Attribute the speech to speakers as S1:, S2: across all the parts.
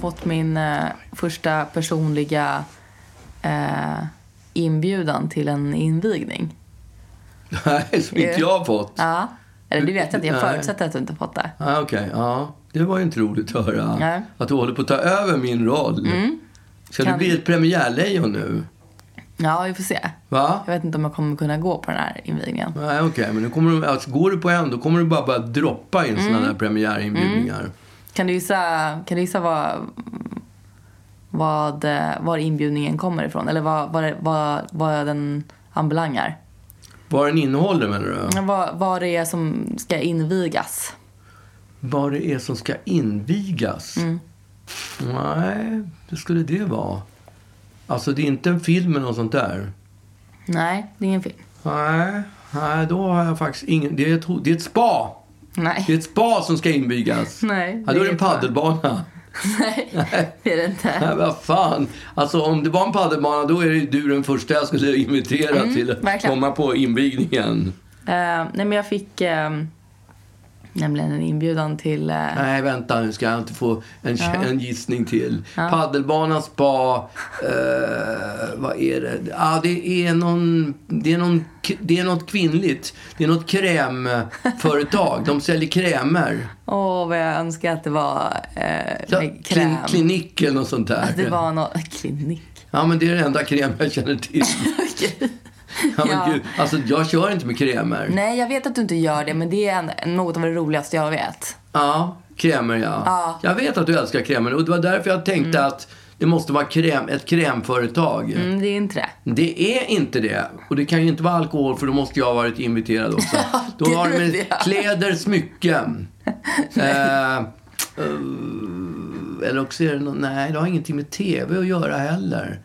S1: fått min eh, första personliga eh, inbjudan till en invigning.
S2: Nej, som inte jag har fått.
S1: Ja. Eller det vet jag inte. Jag
S2: Nej.
S1: förutsätter att du inte har fått det.
S2: Ah, Okej, ja. Det var ju inte roligt att höra.
S1: Nej. Mm.
S2: Att du håller på att ta över min roll. Ska
S1: Kan-
S2: du bli ett premiärlejon nu?
S1: Ja, vi får se.
S2: Va?
S1: Jag vet inte om jag kommer kunna gå på den här invigningen.
S2: Nej, okej. Men nu kommer du, alltså, går du på en, då kommer du bara börja droppa in
S1: Mm.
S2: sådana där premiärinbjudningar.
S1: Kan du gissa, kan du gissa vad, vad, eh, var inbjudningen kommer ifrån? Eller vad, vad, vad, vad den anbelangar?
S2: Vad den innehåller, menar du?
S1: Vad, vad det är som ska invigas?
S2: Vad det är som ska invigas?
S1: Mm.
S2: Nej, det skulle det vara? Alltså, det är inte en film eller något sånt där?
S1: Nej, det är ingen film.
S2: Nej, nej då har jag faktiskt ingen... Det är ett, det är ett spa! Det är
S1: Nej.
S2: ett spa som ska invigas.
S1: Nej,
S2: ja, då
S1: det
S2: är
S1: är
S2: det en
S1: ett spa.
S2: paddelbana.
S1: Nej, det är det inte.
S2: Nej, vad fan. Alltså om det var en paddelbana då är det ju du den första jag skulle invitera till att
S1: Mm, verkligen.
S2: komma på invigningen.
S1: Eh, nej, men jag fick ehm, nämligen en inbjudan till... eh,
S2: Nej, vänta nu ska jag inte få en, en gissning till. Paddelbana, spa, eh, vad är det? Ah, det, är någon, det, är någon, det är något kvinnligt. Det är något krämföretag. De säljer krämer.
S1: Åh, vad jag önskar att det var eh, med kräm.
S2: Klin, klinik eller något sånt där.
S1: Att det var något... Klinik.
S2: Ja, men det är den enda kräm jag känner till. Ja, men
S1: Ja.
S2: Gud. Alltså, jag kör inte med krämer.
S1: Nej, jag vet att du inte gör det, men det är en, något av det roligaste jag vet.
S2: Ja, krämer ja.
S1: Ja.
S2: Jag vet att du älskar krämer och det var därför jag tänkte att det måste vara kräm, ett krämföretag.
S1: Mm, det är inte det.
S2: Det är inte det. Och det kan ju inte vara alkohol för då måste jag ha varit inviterad också. Då har det
S1: gud,
S2: med
S1: ja.
S2: kläder, smycken. eh, eh, eller också är det någon, Nej, det har ingenting med TV att göra heller.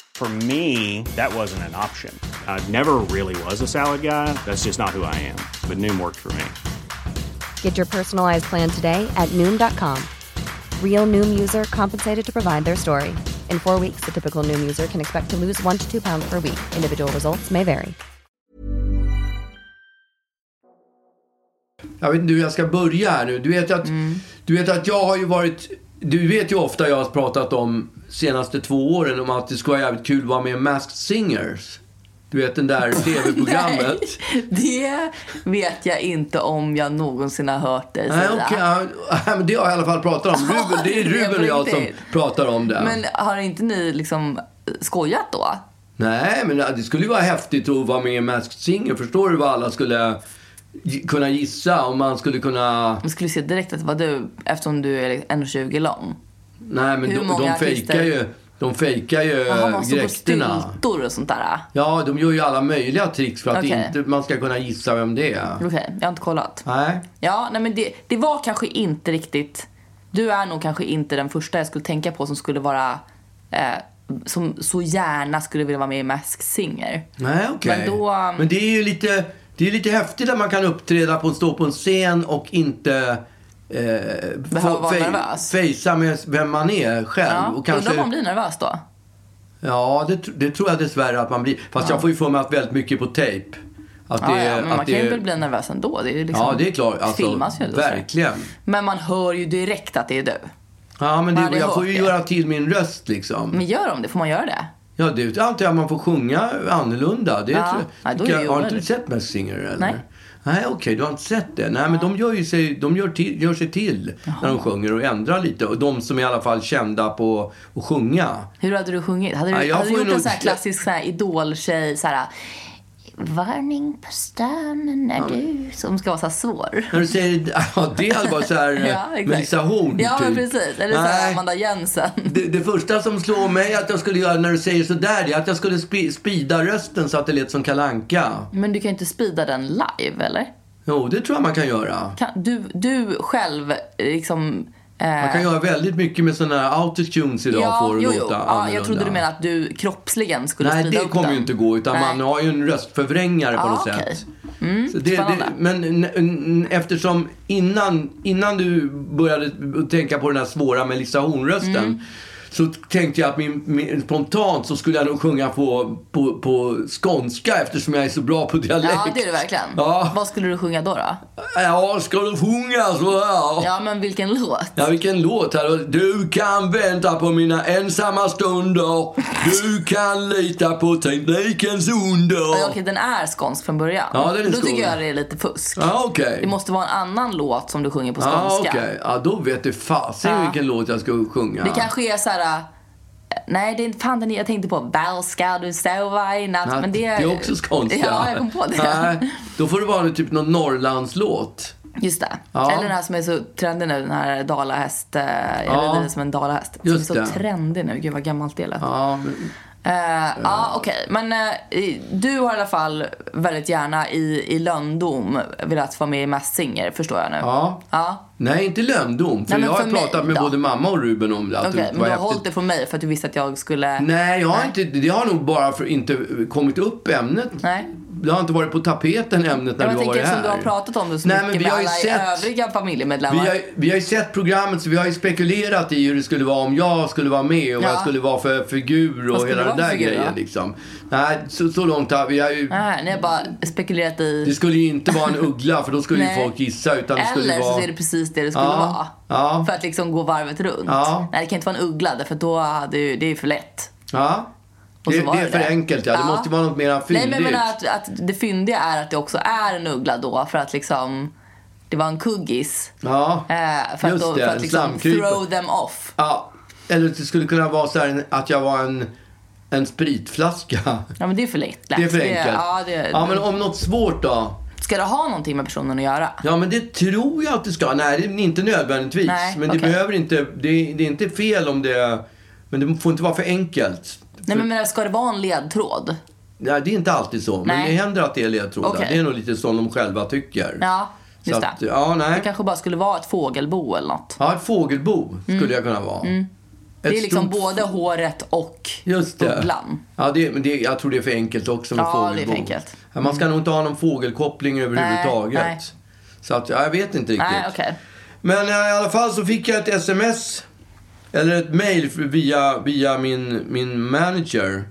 S3: For me, that wasn't an option. I never really was a salad guy. That's just not who I am. But Noom worked for me.
S4: Get your personalized plan today at Noom.com. Real Noom user compensated to provide their story. In four weeks, the typical Noom user can expect to lose one to two pounds per week. Individual results may vary.
S2: Jag vet inte hur jag ska börja här nu. Du vet att,
S1: Mm.
S2: du vet att jag har ju varit... Du vet ju ofta jag har pratat om senaste två åren om att det skulle vara jävligt kul att vara med i Masked Singers. Du vet den där TV-programmet.
S1: Det vet jag inte om jag någonsin har hört dig
S2: Nej,
S1: säga.
S2: okej. ja, ja, men det har jag i alla fall pratat om. Ruben, det är
S1: det är
S2: Ruben och jag som
S1: riktigt.
S2: pratar om det.
S1: Men har inte ni liksom skojat då?
S2: Nej, men det skulle ju vara häftigt att vara med i Masked Singer. Förstår du vad alla skulle gi- kunna gissa? Om man skulle kunna...
S1: Man skulle se direkt att det var du eftersom du är liksom 1,20 lång.
S2: Nej, men
S1: Hur
S2: de,
S1: många
S2: de
S1: artister?
S2: fejkar ju, de fejkar ju
S1: Jaha, man står på
S2: dräkterna.
S1: styltor och sånt där.
S2: Ja, de gör ju alla möjliga tricks för att
S1: Okej. Mm.
S2: inte man ska kunna gissa vem det är.
S1: Okej, jag har inte kollat.
S2: Nej.
S1: Ja, nej men det, det var kanske inte riktigt... Du är nog kanske inte den första jag skulle tänka på som skulle vara... Eh, som så gärna skulle vilja vara med i Mask Singer.
S2: Nej, okej.
S1: Men då- um,
S2: Men det är ju lite, det är lite häftigt att man kan uppträda på, stå på en scen och inte eh,
S1: Behöva
S2: få-
S1: vara
S2: fej-
S1: nervös.
S2: Fejsa med vem man är själv.
S1: Ja,
S2: och
S1: Undrar om
S2: kanske,
S1: man blir nervös då?
S2: ja det, tr- det tror jag dessvärre att man blir. Fast jag får ju för mig att väldigt mycket är på tejp. Att det,
S1: Ja, ja, men
S2: att
S1: man kan
S2: det,
S1: ju väl bli nervös ändå. Det är ju liksom,
S2: Ja, det är klart. Alltså,
S1: filmas ju. då, så.
S2: verkligen.
S1: Men man hör ju direkt att det är du.
S2: Ja, men
S1: Man
S2: det,
S1: hade
S2: jag
S1: hört
S2: får ju
S1: det.
S2: göra till min röst liksom.
S1: Men gör de det? Får man göra det?
S2: Ja, det antar jag man får sjunga annorlunda. Det
S1: Ja.
S2: tror jag.
S1: Ja, då är det ju
S2: har inte du
S1: omöjligt.
S2: sett Masked Singer? Eller?
S1: Nej.
S2: Nej, okej, du har inte sett det. Nej, men de gör, ju sig, de gör, till, gör sig till när de sjunger och ändrar lite. Och de som är i alla fall kända på att sjunga.
S1: Hur hade du sjungit? Hade du,
S2: Ja, jag
S1: hade du
S2: får ju
S1: gjort en
S2: nog-
S1: sån här klassisk sån här idoltjej så här Varning på stjärnorna du som ska vara så här svår.
S2: När du säger ja, det hade varit så här eh,
S1: exakt.
S2: Melissa Horn
S1: Ja, men
S2: typ.
S1: precis. Eller så här
S2: Nej.
S1: Amanda Jensen.
S2: det, det första som slår mig att jag skulle göra när du säger sådär, det är att jag skulle spi, spida rösten så att det lät som kalanka.
S1: Men du kan ju inte speeda den live, eller?
S2: Jo, det tror jag man kan göra.
S1: Kan, du, du själv liksom... eh,
S2: Man kan göra väldigt mycket med sådana här autotunes idag
S1: ja,
S2: för att
S1: jo, jo.
S2: låta
S1: ja,
S2: annorlunda.
S1: Jag trodde du menade att du kroppsligen skulle
S2: Nej,
S1: speeda
S2: det
S1: upp
S2: kommer
S1: den.
S2: ju inte gå. Utan
S1: Nej.
S2: man har ju en röstförvrängare på
S1: Ja,
S2: något
S1: okej. Mm,
S2: sätt. Så det,
S1: spännande.
S2: det, men n- n- eftersom innan, innan du började tänka på den här svåra Melissa Horn-rösten.
S1: Mm.
S2: Så tänkte jag att min, min, spontant så skulle jag nog sjunga på, på, på skånska eftersom jag är så bra på dialekt.
S1: Ja, det är du verkligen.
S2: Ja.
S1: Vad skulle du sjunga då? då?
S2: Ja, ska du sjunga så här?
S1: Ja, men vilken låt?
S2: Ja, vilken låt här. Du kan vänta på mina ensamma stunder. Du kan lita på teknikens under.
S1: Ja, Okej, den är skånsk från början.
S2: Ja, den är
S1: Då
S2: skånsk.
S1: tycker jag det är lite fusk.
S2: Ja, okej.
S1: Det måste vara en annan låt som du sjunger på skånska.
S2: Ja, okej. Ja, då vet du fasen
S1: Ja.
S2: vilken låt jag ska sjunga.
S1: Det kanske är så här. äh, Nej, det är inte fan den jag tänkte på. Väl ska du sova i natt.
S2: Ja,
S1: Men det,
S2: är också skånska.
S1: Ja, jag kom på det.
S2: Nej, då får det vara typ någon Norrlandslåt.
S1: Just det.
S2: Ja.
S1: Eller den här som är så trendig nu, den här dalahäst. eh, Jag
S2: Ja.
S1: rider som en dalahäst.
S2: Just
S1: som är
S2: det.
S1: så trendig nu. Gud vad gammalt det lät.
S2: Ja, men,
S1: Eh, Ja, okej. Men eh, du har i alla fall väldigt gärna i, i löndom velat vara med i Masked Singer, förstår jag nu.
S2: ja.
S1: Ja,
S2: Nej, inte lömdom. För
S1: Nej, men
S2: jag har
S1: för mig
S2: pratat med
S1: då?
S2: både mamma och Ruben om det. att
S1: okej.
S2: det
S1: Men
S2: var
S1: du har
S2: häftigt.
S1: hållit det från mig för att du visste att jag skulle...
S2: typ Nej, jag har inte, det har nog bara för, inte kommit upp ämnet.
S1: Nej.
S2: Det har inte varit på tapeten ämnet när
S1: Men
S2: du
S1: jag
S2: har
S1: tänker
S2: varit
S1: eftersom
S2: här.
S1: du har pratat om det så
S2: Nej, men
S1: mycket
S2: vi
S1: med
S2: har
S1: alla
S2: ju sett-
S1: övriga
S2: Vi
S1: familjemedlemmar.
S2: har, vi har ju sett programmet så vi har ju spekulerat i hur det skulle vara om jag skulle vara med och
S1: Ja.
S2: vad jag skulle vara för figur
S1: Vad
S2: och
S1: skulle
S2: hela den
S1: du vara
S2: där
S1: för figur,
S2: grejen
S1: då?
S2: liksom. Nej, så, så långt har vi har ju...
S1: Nej, ni har bara spekulerat
S2: Det
S1: i...
S2: skulle ju inte vara en uggla för då skulle ju
S1: Nej.
S2: folk gissa utan det skulle
S1: Eller
S2: vara...
S1: så är det precis det det skulle
S2: Ja,
S1: vara.
S2: ja.
S1: För att liksom gå varvet runt.
S2: Ja.
S1: Nej, det kan inte vara en uggla därför att då hade ju, det är ju för lätt.
S2: Ja.
S1: Och
S2: Det,
S1: så
S2: det
S1: var
S2: är
S1: det
S2: för
S1: det.
S2: enkelt ja. Det
S1: Ja.
S2: måste ju vara något mer
S1: Nej,
S2: fyndigt.
S1: men jag menar att, att det fyndiga är att det också är en uggla då för att liksom... Det var en kuggis.
S2: Ja.
S1: Eh, för att,
S2: Just
S1: då,
S2: det,
S1: för att
S2: en
S1: liksom
S2: slamkrypare.
S1: throw them off.
S2: ja. Eller det skulle kunna vara så här en- att jag var en, en spritflaska.
S1: Ja, men det är för lätt.
S2: Det är för enkelt.
S1: ja, det,
S2: ja, men om något svårt då?
S1: Ska det ha någonting med personen att göra?
S2: Ja, men det tror jag att det ska. Nej, det är inte nödvändigtvis.
S1: Nej,
S2: men det
S1: okej.
S2: behöver inte... Det, är- det är inte fel om det... Men det får inte vara för enkelt. Typ.
S1: Nej, men jag menar, ska det vara en ledtråd?
S2: Nej, det är inte alltid så. Men
S1: Nej.
S2: det händer att det är ledtrådar.
S1: Okej.
S2: Det är nog lite som de själva tycker.
S1: Ja, just
S2: så att,
S1: det.
S2: Ja, nej.
S1: Det kanske bara skulle vara ett fågelbo eller något.
S2: Ja, ett fågelbo skulle jag kunna vara.
S1: Mm. Det är liksom
S2: stort-
S1: både håret och
S2: Just det.
S1: bubblan.
S2: Ja, det, men det, jag tror det är för enkelt också med
S1: Ja,
S2: fågelbo.
S1: det är för enkelt. Mm.
S2: Ja, Man ska nog inte ha någon fågelkoppling överhuvudtaget.
S1: nej.
S2: Så att, ja, jag vet inte riktigt.
S1: Nej, okej.
S2: Men eh, i alla fall så fick jag ett sms. Eller ett mail via, via min, min manager.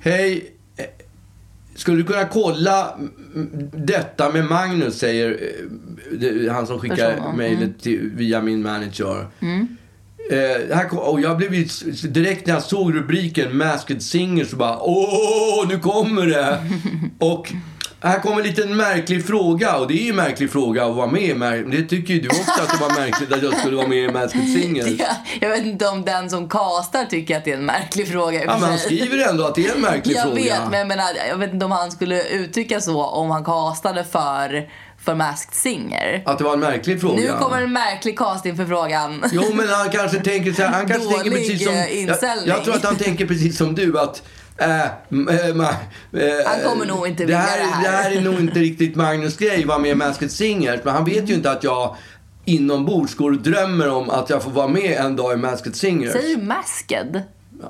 S2: Hej. eh, Skulle du kunna kolla mm, detta med Magnus, säger eh, det- han som skickar
S1: Personen,
S2: mejlet till- via min manager. Eh, här kom, och jag blev ju s- s- direkt när jag såg rubriken Masked Singer så bara åh, nu kommer det! och här kommer en liten märklig fråga och det är ju en märklig fråga att vara med i Mar- Det tycker ju du också att det var märkligt att jag skulle vara med i Masked Singer.
S1: Ja, Jag vet inte om den som kastar tycker att det är en märklig fråga i och
S2: Ja,
S1: för
S2: men han
S1: sig.
S2: skriver ändå att det är en märklig
S1: Jag
S2: fråga.
S1: vet, men jag, menar, jag vet inte om han skulle uttrycka så om han castade för, för Masked Singer.
S2: Att det var en märklig fråga.
S1: Nu kommer en märklig casting för frågan.
S2: Jo, men han kanske tänker så här. Han kanske
S1: Dålig,
S2: tänker precis som...
S1: eh,
S2: Jag,
S1: inställning.
S2: jag tror att han tänker precis som du att... eh, m- eh, ma- eh,
S1: Han kommer nog inte
S2: det
S1: vilja
S2: här,
S1: det här.
S2: det här är nog inte riktigt Magnus grej, vara med i Masked Singer. Men han vet ju inte att jag inombords går och drömmer om att jag får vara med en dag i Masked Singer.
S1: Säger du masked?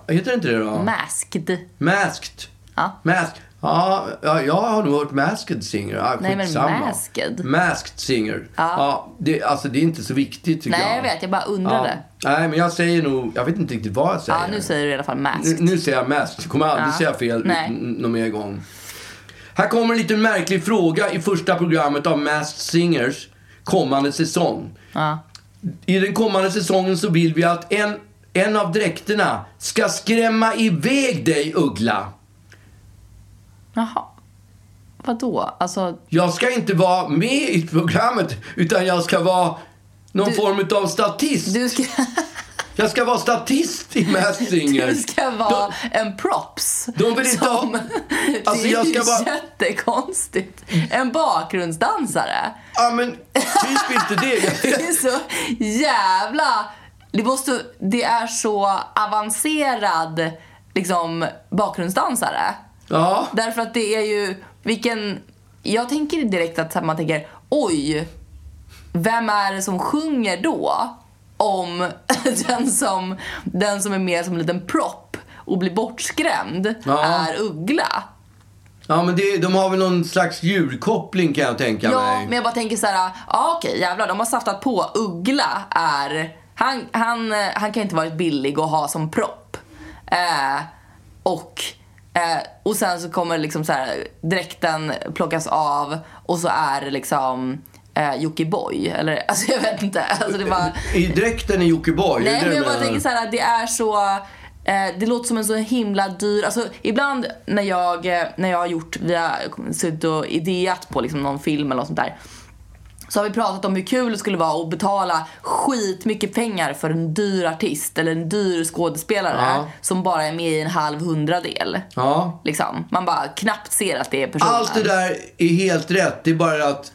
S2: Heter det inte det då?
S1: Masked?
S2: Masked.
S1: Ja.
S2: Mask. Ja, ja, jag har nog hört Masked Singer. Ja,
S1: Nej, men
S2: skitsamma.
S1: Masked.
S2: Masked Singer. Ja. det, alltså det är inte så viktigt tycker jag.
S1: Nej, jag vet. Jag bara undrade.
S2: Nej, men jag säger nog... Jag vet inte riktigt vad jag säger.
S1: Ja, nu säger du i alla fall
S2: Nu,
S1: masked.
S2: nu säger jag mest. Jag kommer aldrig
S1: Ja.
S2: säga fel
S1: Nej.
S2: n- n- någon mer gång. Här kommer en liten märklig fråga i första programmet av Masked Singers kommande säsong.
S1: Ja.
S2: I den kommande säsongen så vill vi att en, en av dräkterna ska skrämma iväg dig, Uggla.
S1: Jaha. Vadå? Alltså,
S2: Jag ska inte vara med i programmet, utan jag ska vara någon form av statist.
S1: du ska,
S2: Jag ska vara statist i Masked Singer.
S1: du ska vara en props.
S2: De vill inte ha- Alltså,
S1: det är
S2: jag ska
S1: ju
S2: bara-
S1: jättekonstigt. En bakgrundsdansare.
S2: Ja, men typ inte
S1: Det
S2: det.
S1: är så jävla... Det, måste, det är så avancerad liksom, bakgrundsdansare.
S2: Ja.
S1: Därför att det är ju... vilken... Jag tänker direkt att man tänker oj, vem är det som sjunger då? Om den som, den som är med som en liten propp och blir bortskrämd
S2: Ja.
S1: är Uggla.
S2: Ja, men det, de har väl någon slags djurkoppling kan jag tänka
S1: Ja,
S2: mig.
S1: men jag bara tänker så här, ja okej jävlar, de har saftat på. Uggla är, han, han, eh, han kan inte varit billig att ha som propp. Eh, och, eh, och sen så kommer liksom så här, dräkten plockas av och så är det liksom eh, Jockiboi. Eller alltså jag vet inte. Alltså, det var,
S2: I dräkten i Jockiboi, är det
S1: nej
S2: det
S1: men
S2: du
S1: jag bara
S2: menar?
S1: tänker så här, det är så... Eh, det låter som en så himla dyr... Alltså ibland när jag, eh, när jag har gjort... Vi har suttit och ideat på liksom någon film eller något sånt där så har vi pratat om hur kul det skulle vara att betala skitmycket pengar för en dyr artist eller en dyr skådespelare
S2: Ja.
S1: som bara är med i en halv hundradel.
S2: Ja.
S1: Liksom. Man bara knappt ser att det är personen.
S2: Allt det där är helt rätt. Det är bara att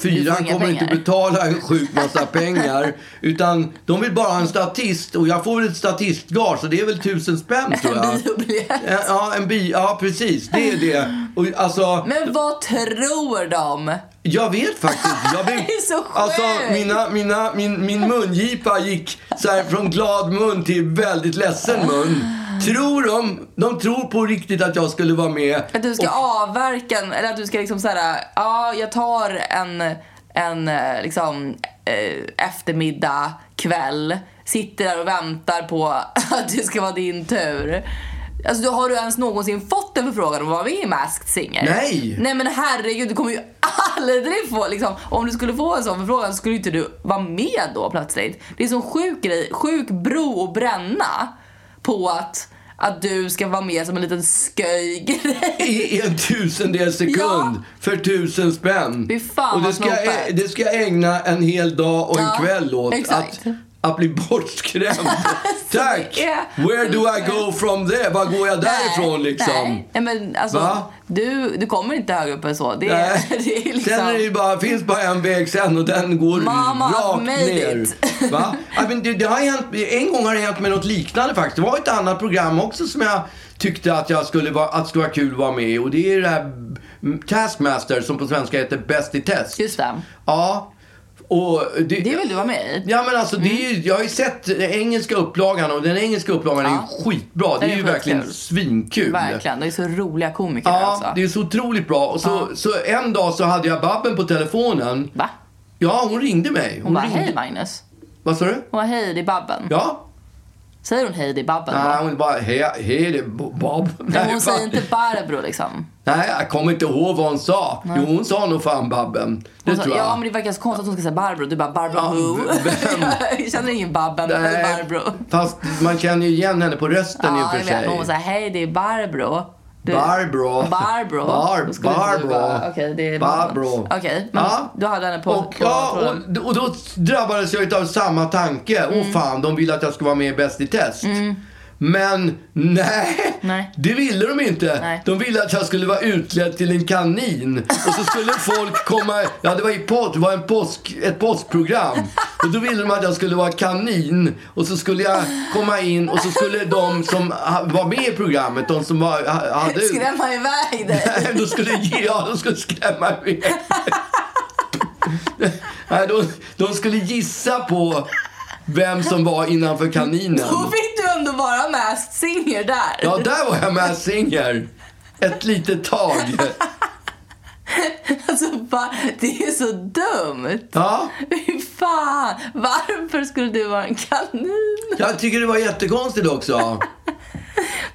S2: fyran
S1: Du får inga
S2: kommer inte
S1: pengar.
S2: betala en sjuk massa pengar. Utan de vill bara ha en statist. Och jag får väl ett statistgage, så det är väl tusen spänn tror jag.
S1: Biobiljett.
S2: Ja, en bi. Ja, precis. Det är det. Och, alltså,
S1: Men vad tror de?
S2: Jag vet faktiskt. Jag blev,
S1: Det är så sjukt.
S2: alltså, mina, mina, min, min mungipa gick så här från glad mun till väldigt ledsen mun. Tror de, de tror på riktigt att jag skulle vara med.
S1: Att du ska avverka, en- eller att du ska liksom såhär, ja jag tar en, en eh, liksom eh, eftermiddag, kväll, sitter där och väntar på att det ska vara din tur. Alltså då har du ens någonsin fått en förfrågan om att vara med i Masked Singer?
S2: Nej.
S1: Nej men herregud, du kommer ju aldrig få liksom, om du skulle få en sån förfrågan så skulle ju inte du vara med då plötsligt. Det är en sån sjuk grej, sjuk bro att bränna på att, att du ska vara med som en liten sköj grej.
S2: I en tusendel sekund
S1: Ja.
S2: för tusen spänn.
S1: Fy fan,
S2: och det
S1: vad
S2: ska, jag,
S1: snopet.
S2: det ska jag ägna en hel dag och en
S1: Ja,
S2: kväll åt.
S1: exakt.
S2: Att, att bli bortskrämd. Tack!
S1: är-
S2: Where do I go from there? Var går jag därifrån liksom?
S1: Nej, nej men alltså,
S2: Va?
S1: du, du kommer inte högre upp än så. Det är,
S2: Nej.
S1: det är
S2: Sen är det ju
S1: liksom...
S2: bara, finns bara en väg sen och den går
S1: Mama, I've
S2: rakt
S1: made
S2: ner.
S1: it.
S2: Va? Ja, men det, det har hänt, en gång har det hänt med något liknande faktiskt. Det var ett annat program också som jag tyckte att, jag skulle vara, att det skulle vara kul att vara med i. Och det är det här mm, Taskmaster som på svenska heter Bäst i test.
S1: Just det.
S2: Ja. Och det,
S1: Det vill du vara med i. Mm.
S2: Ja men alltså det är ju, jag har ju sett den engelska upplagan och den engelska upplagan är ju
S1: Ja.
S2: skitbra. Det
S1: Den
S2: är
S1: är
S2: ju verkligen
S1: skitkul.
S2: svinkul.
S1: Verkligen. Det är så roliga komiker där
S2: Ja,
S1: också.
S2: det är så otroligt bra. Och så, så en dag så hade jag Babben på telefonen.
S1: Va?
S2: Ja, hon ringde mig.
S1: Hon, bara,
S2: ringde.
S1: hej Magnus.
S2: Vad sa du?
S1: Hon bara, hej det är Babben.
S2: Mm. Ja.
S1: Säger hon hej det är Babben? då?
S2: Nej, hon bara, hej, hej det är Bo- Bob.
S1: Men
S2: fan.
S1: hon säger inte Barbro liksom.
S2: Nej, jag kommer inte ihåg vad hon sa. Jo, hon sa nog fan Babben. Det
S1: Hon sa,
S2: tror jag.
S1: ja men det verkar så konstigt att hon ska säga Barbro. Du bara Barbro who? Jag känner ingen Babben eller Barbro.
S2: Fast man känner ju igen henne på rösten i och
S1: Ja,
S2: för
S1: jag vet.
S2: sig.
S1: Hon var såhär, hej det är Barbro. Du,
S2: Barbro.
S1: Barbro.
S2: Bar-
S1: Då skulle du
S2: Barbro.
S1: bara, Okej, det är
S2: Barbro.
S1: Okej, men
S2: Ja.
S1: du hade henne på...
S2: Och,
S1: på, på
S2: ja, och, och då drabbades jag av samma tanke.
S1: Mm.
S2: Åh fan, de ville att jag skulle vara med i Bäst i test. Men nej,
S1: Nej.
S2: det ville de inte.
S1: Nej.
S2: De ville att jag skulle vara utklädd till en kanin. Och så skulle folk komma... Ja, det var, i podd, det var en påsk, ett påskprogram. Och då ville de att jag skulle vara kanin. Och så skulle jag komma in och så skulle de som ha- var med i programmet, de som var, ha- hade...
S1: Skrämma iväg dig.
S2: Nej, då skulle ge, ja, de skulle skrämma iväg Nej, de, de skulle gissa på vem som var innanför kaninen.
S1: Då fick du ändå vara Masked Singer där.
S2: Ja, där var jag med Singer. Ett litet tag.
S1: Alltså, va, det är så dumt.
S2: Ja,
S1: Fy fan, varför skulle du vara en kanin?
S2: jag tycker det var jättekonstigt också.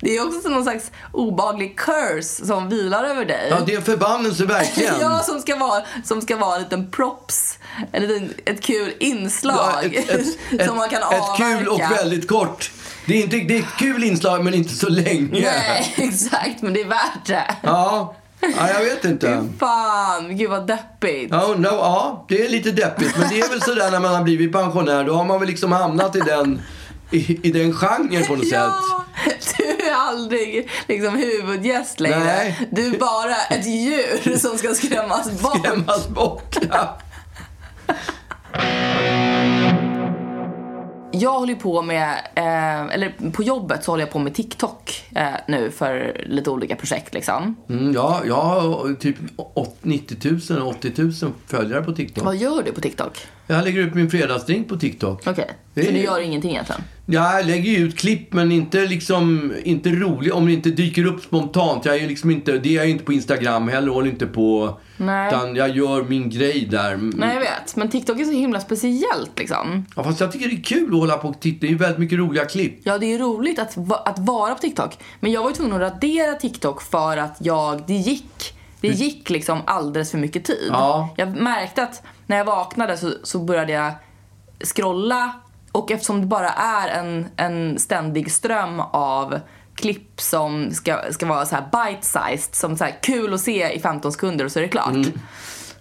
S1: Det är också som någon slags obaglig curse som vilar över dig.
S2: Ja, det är en förbannelse verkligen.
S1: Ja, som ska vara, som ska vara en liten props. En liten, ett kul
S2: Ja,
S1: inslag
S2: ett, ett,
S1: som man kan
S2: ett, ett
S1: avverka.
S2: kul och väldigt kort. Det är, inte, det är ett kul inslag, men inte så länge.
S1: Nej, exakt, men det är värt det.
S2: Ja. ja, jag vet inte.
S1: Fan, gud vad deppigt.
S2: Ja, undrar, ja, det är lite deppigt. Men det är väl sådär när man har blivit pensionär. Då har man väl liksom hamnat i den, i, i den genren på något sätt.
S1: Ja, du är aldrig liksom huvudgäst längre.
S2: Nej.
S1: Du är bara ett djur som ska skrämmas bort.
S2: Skämmas bort. Ja.
S1: Jag håller ju på med, eh, eller på jobbet så håller jag på med TikTok eh, nu för lite olika projekt liksom.
S2: Mm, ja, jag har typ åt- 90 000, 80 000 följare på TikTok.
S1: Vad gör du på TikTok?
S2: Jag lägger ut min fredagsdrink på TikTok.
S1: Okej,
S2: Det är-
S1: så du gör ingenting egentligen?
S2: Ja, jag lägger ju ut klipp, men inte liksom, inte rolig om det inte dyker upp spontant. Jag är ju liksom inte, det är jag ju inte på Instagram heller, håller inte på.
S1: Nej.
S2: Utan jag gör min grej där.
S1: Nej jag vet, men TikTok är så himla speciellt liksom.
S2: Ja, fast jag tycker det är kul att hålla på och titta. Det är ju väldigt mycket roliga klipp.
S1: Ja det är roligt att, va- att vara på TikTok. Men jag var ju tvungen att radera TikTok för att jag, det gick. Det gick liksom alldeles för mycket tid.
S2: Ja.
S1: Jag märkte att när jag vaknade så, så började jag scrolla och eftersom det bara är en, en ständig ström av klipp som ska, ska vara så här bite-sized, som så här kul att se i 15 sekunder och så är det klart.
S2: Mm.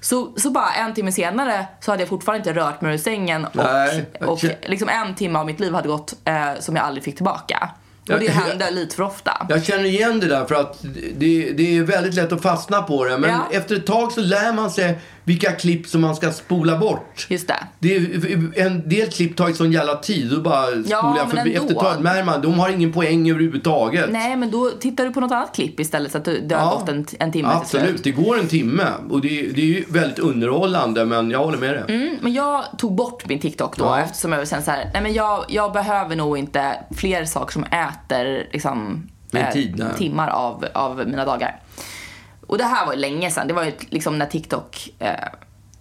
S1: Så, så bara en timme senare så hade jag fortfarande inte rört mig ur sängen och,
S2: Nej, jag
S1: och
S2: kä-
S1: liksom en timme av mitt liv hade gått eh, som jag aldrig fick tillbaka. Och det
S2: Jag-
S1: händer lite för ofta.
S2: Jag känner igen det där för att det, det är väldigt lätt att fastna på det. Men
S1: Ja.
S2: efter ett tag så lär man sig vilka klipp som man ska spola bort.
S1: Just det.
S2: Det är, en del klipp tar ju sån jävla tid. Då bara spolar jag
S1: men
S2: förbi.
S1: ändå.
S2: Efter ett tag märker man de har ingen poäng överhuvudtaget.
S1: Nej men då tittar du på något annat klipp istället så att du, det har gått en, en timme till slut.
S2: Absolut, det går en timme. Och det, är- det är ju väldigt underhållande men jag håller med dig.
S1: Mm, men jag tog bort min TikTok då
S2: Ja.
S1: eftersom jag kände så här, nej men jag, jag behöver nog inte fler saker som äter liksom,
S2: Min tid, nej.
S1: timmar av, av mina dagar. Och det här var ju länge sedan, det var ju liksom när TikTok eh,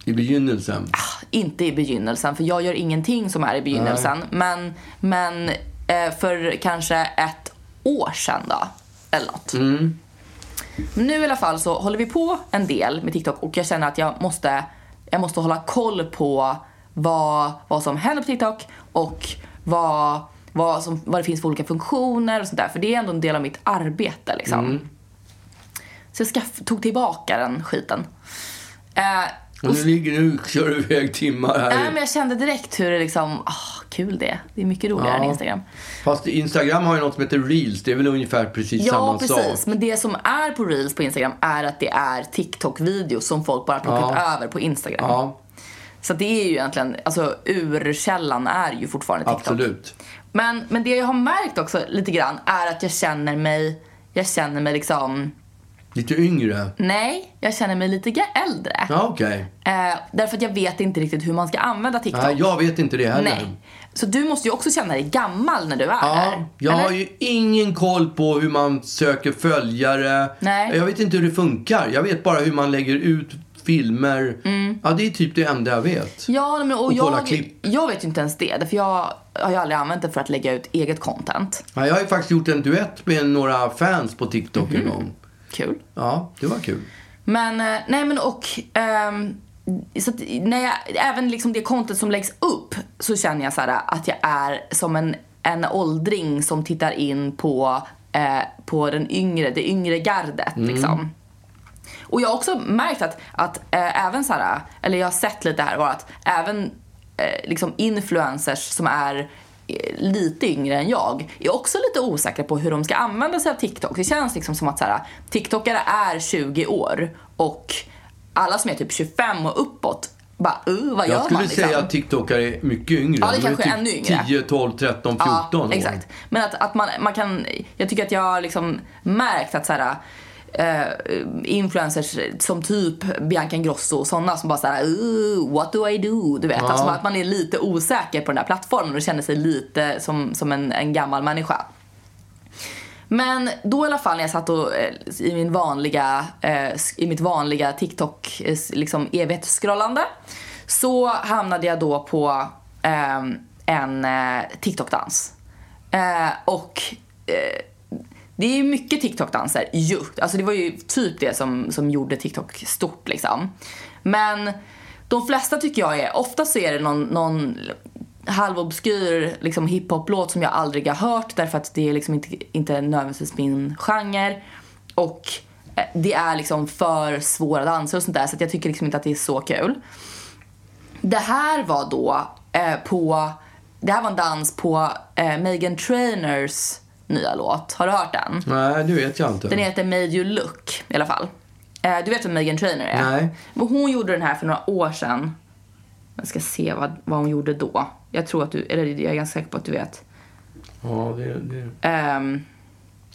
S2: I begynnelsen.
S1: Ah, inte i begynnelsen, för jag gör ingenting som är i begynnelsen. Men, men eh, för kanske ett år sedan då, eller något. Men nu i alla fall så håller vi på en del med TikTok och jag känner att jag måste, jag måste hålla koll på vad, vad som händer på TikTok och vad, vad, som, vad det finns för olika funktioner och sånt där. För det är ändå en del av mitt arbete liksom. Så jag skaff- tog tillbaka den skiten. Eh,
S2: Och nu ligger du och kör iväg timmar här.
S1: Nej, men jag kände direkt hur det liksom, ah, kul det är. Det är mycket roligare
S2: Ja.
S1: än Instagram.
S2: Fast Instagram har ju något som heter reels. Det är väl ungefär precis
S1: Ja,
S2: samma
S1: precis.
S2: sak.
S1: Men det som är på Reels på Instagram är att det är TikTok-videos som folk bara plockat
S2: Ja.
S1: över på Instagram.
S2: Ja,
S1: Så det är ju egentligen, alltså urkällan är ju fortfarande TikTok.
S2: absolut.
S1: Men, men det jag har märkt också lite grann är att jag känner mig, jag känner mig liksom,
S2: Lite yngre.
S1: nej, jag känner mig lite ga- äldre.
S2: Ja, okej.
S1: Eh, därför att jag vet inte riktigt hur man ska använda TikTok.
S2: Nej, jag vet inte det heller.
S1: nej. Så du måste ju också känna dig gammal när du är
S2: Ja,
S1: där.
S2: jag
S1: eller?
S2: har ju ingen koll på hur man söker följare.
S1: Nej.
S2: Jag vet inte hur det funkar. Jag vet bara hur man lägger ut filmer. Ja, det är typ det enda jag vet.
S1: Mm. Ja, men, och,
S2: Och kolla
S1: jag,
S2: klipp.
S1: jag vet ju inte ens det. Därför jag har ju aldrig använt det för att lägga ut eget content.
S2: Ja, jag har ju faktiskt gjort en duett med några fans på TikTok
S1: Mhm.
S2: en gång.
S1: Kul.
S2: Ja, det var kul.
S1: Men, eh, nej men och... ehm, så att när jag, även liksom det content som läggs upp så känner jag så här att jag är som en, en åldring som tittar in på, eh, på den yngre, det yngre gardet
S2: Mm.
S1: liksom. Och jag har också märkt att, att eh, även så här, eller jag har sett lite här bara att även eh, liksom influencers som är eh, lite yngre än jag är också lite osäkra på hur de ska använda sig av TikTok. Det känns liksom som att så här, TikTokare är 20 år och alla som är typ 25 och uppåt bara uh, vad gör
S2: Jag skulle
S1: man liksom?
S2: säga att TikTokare är mycket yngre.
S1: Ja, det
S2: De
S1: kanske
S2: typ
S1: är ännu yngre.
S2: 10, 12, 13, 14 år.
S1: Ja, exakt. Men att, att man, man kan, jag tycker att jag har liksom märkt att så här, eh, influencers som typ Bianca Ingrosso och sådana som bara såhär "Ooh, what do I do? Du vet, alltså bara att man är lite osäker på den där plattformen och känner sig lite som, som en, en gammal människa. Men då i alla fall när jag satt och, eh, i, min vanliga, eh, sk- i mitt vanliga TikTok eh, s- liksom evighetsskrollande så hamnade jag då på ehm, en eh, TikTok-dans. Eh, och eh, det är ju mycket TikTok-danser ju. Alltså det var ju typ det som, som gjorde TikTok stort liksom. Men de flesta tycker jag är, ofta så är det någon, någon halvobskyr liksom hiphop-låt som jag aldrig har hört därför att det är liksom inte, inte nödvändigtvis min genre. Och eh, det är liksom för svåra danser och sånt där så att jag tycker liksom inte att det är så kul. Det här var då eh, på, det här var en dans på eh, Megan Trainers nya låt. Har du hört den?
S2: Nej, det vet jag inte.
S1: Den heter Made You Look i alla fall. Eh, du vet vem Megan Trainor är?
S2: Nej.
S1: Men Hon gjorde den här för några år sedan. Jag ska se vad, vad hon gjorde då. Jag tror att du, eller jag är ganska säker på att du vet.
S2: Ja, det, det,
S1: Ehm,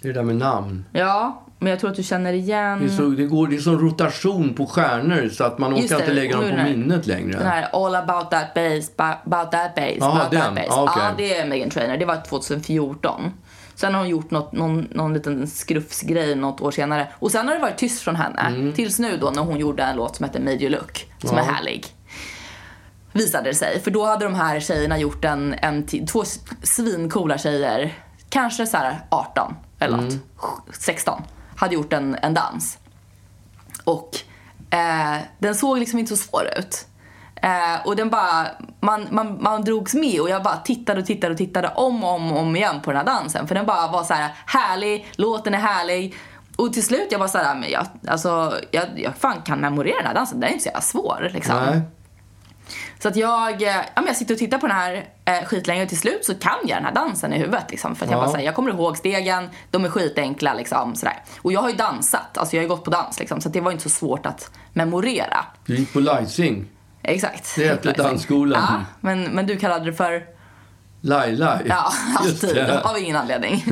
S2: det är det där med namn.
S1: ja, men jag tror att du känner igen
S2: Det, är så, det, går, det är sån rotation på stjärnor så att man
S1: Mm. Just
S2: orkar
S1: det,
S2: inte lägga
S1: och
S2: dem
S1: hur
S2: på
S1: den här-
S2: minnet längre.
S1: den här All about that bass, ba- about that bass,
S2: Ja,
S1: about that
S2: den.
S1: bass.
S2: Ja, okej.
S1: Ja, det är Megan Trainor. Det var 2014. Sen har hon gjort något, någon, någon liten skrufsgrej något år senare. Och sen har det varit tyst från henne.
S2: Mm.
S1: Tills nu då när hon gjorde en låt som heter Made You Look. Som är härlig. visade det sig. För då hade de här tjejerna gjort en, en t- två s- svincoola tjejer, kanske så här 18 eller något,
S2: Mm.
S1: sj- 16, hade gjort en, en dans. Och eh, den såg liksom inte så svår ut. Eh, och den bara, man, man, man drogs med och jag bara tittade och tittade och tittade om och om, och om igen på den här dansen. För den bara var så här härlig, låten är härlig. Och till slut jag bara såhär, men jag, alltså, jag, jag fan kan memorera den här dansen, den är inte så jävla svår liksom.
S2: Nej.
S1: Så att jag, eh, ja, men jag sitter och tittar på den här eh, skitlänge och till slut så kan jag den här dansen i huvudet. Liksom, för att jag
S2: Ja.
S1: bara säger, jag kommer ihåg stegen, de är skitenkla liksom. Sådär. Och jag har ju dansat, alltså jag har ju gått på dans liksom. Så att det var inte så svårt att memorera.
S2: Du gick på Lysing.
S1: Exakt. Liksom.
S2: Det hette dansskolan.
S1: Ja, men, men du kallade det för,
S2: Lai-Lai.
S1: ja,
S2: Just
S1: alltid.
S2: det.
S1: Av ingen anledning.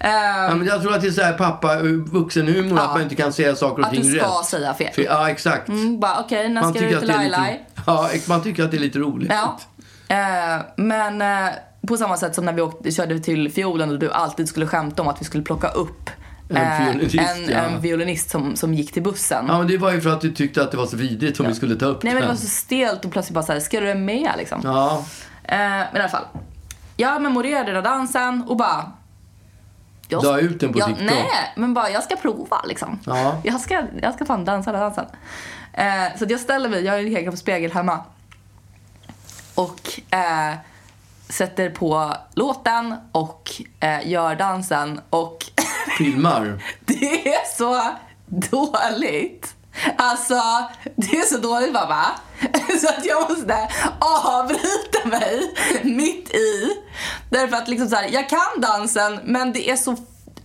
S2: Ja, men jag tror att det är så här pappa, eh, vuxenhumor, att man inte kan säga saker och
S1: Att
S2: ting
S1: du ska
S2: rätt.
S1: säga fel.
S2: För- Ja, exakt.
S1: Mm, bara, okej, när ska du till Lai Lai?
S2: lite, ja, ex- man tycker att det är lite roligt.
S1: Ja. Eh, men eh, på samma sätt som när vi åkte, körde till fiolen och du alltid skulle skämta om att vi skulle plocka upp
S2: En
S1: eh,
S2: violinist,
S1: en,
S2: ja.
S1: en violinist som, som gick till bussen.
S2: Ja, men det var ju för att du tyckte att det var så vidrigt om vi skulle ta upp
S1: Nej men det
S2: den.
S1: var så stelt och plötsligt bara såhär, ska du med liksom?
S2: Ja,
S1: Eh, men i alla fall. Jag memorerade den här dansen och bara... Jag,
S2: La ut den på
S1: jag,
S2: TikTok.
S1: Nej, men bara jag ska prova liksom.
S2: Ja.
S1: Jag, ska, jag ska fan dansa den här dansen. Eh, så att jag ställer mig, jag har en egen spegel hemma. Och eh, sätter på låten och eh, gör dansen och
S2: filmar.
S1: det är så dåligt. Alltså, det är så dåligt mamma. Så att jag måste avbryta mig mitt i. Därför att liksom så här, jag kan dansen men det är så...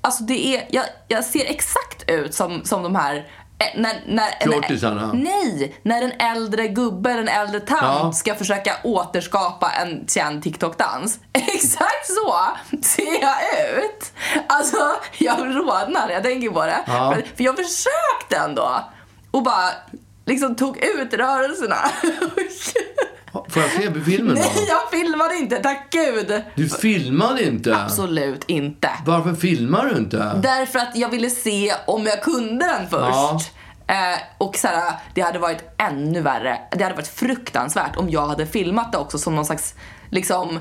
S1: Alltså det är, jag, jag ser exakt ut som, som de här... eh, När, när,
S2: Fjortisarna.
S1: Nej! När en äldre gubbe eller en äldre tant
S2: Ja.
S1: ska försöka återskapa en känd TikTok-dans. Exakt så ser jag ut! Alltså, jag rodnar när jag tänker på det.
S2: Ja.
S1: För- För jag försökte ändå. Och bara liksom tog ut rörelserna.
S2: Får jag se filmen då?
S1: Nej, jag filmade inte, tack gud!
S2: Du filmade inte?
S1: Absolut inte.
S2: Varför filmar du inte?
S1: Därför att jag ville se om jag kunde den
S2: Ja.
S1: först. Eh, och så här, det hade varit ännu värre. Det hade varit fruktansvärt om jag hade filmat det också som någon slags, liksom,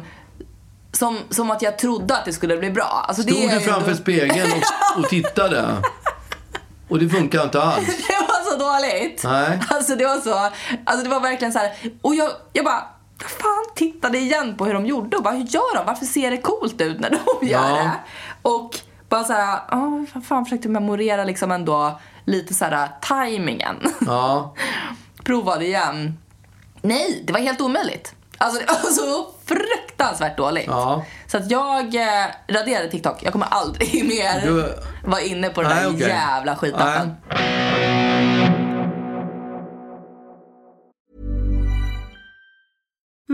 S1: som, som att jag trodde att det skulle bli bra. Alltså, det
S2: Stod
S1: är
S2: du
S1: ju
S2: framför
S1: ändå-
S2: spegeln och, och tittade? Och det funkar inte alls?
S1: Det var så dåligt.
S2: Nej.
S1: Alltså det var så, alltså det var verkligen så här. och jag, jag bara vad fan tittade igen på hur de gjorde och bara hur gör de? Varför ser det coolt ut när de gör
S2: Ja.
S1: det? Och bara så här, ja vad fan försökte memorera liksom ändå lite så här tajmingen.
S2: Ja.
S1: Provade igen. Nej, det var helt omöjligt. Alltså det var så fruktansvärt dåligt.
S2: Ja.
S1: Så att jag eh, raderade TikTok. Jag kommer aldrig mer
S2: Du-
S1: vara inne på den
S2: Nej,
S1: där
S2: okej.
S1: jävla skitappen.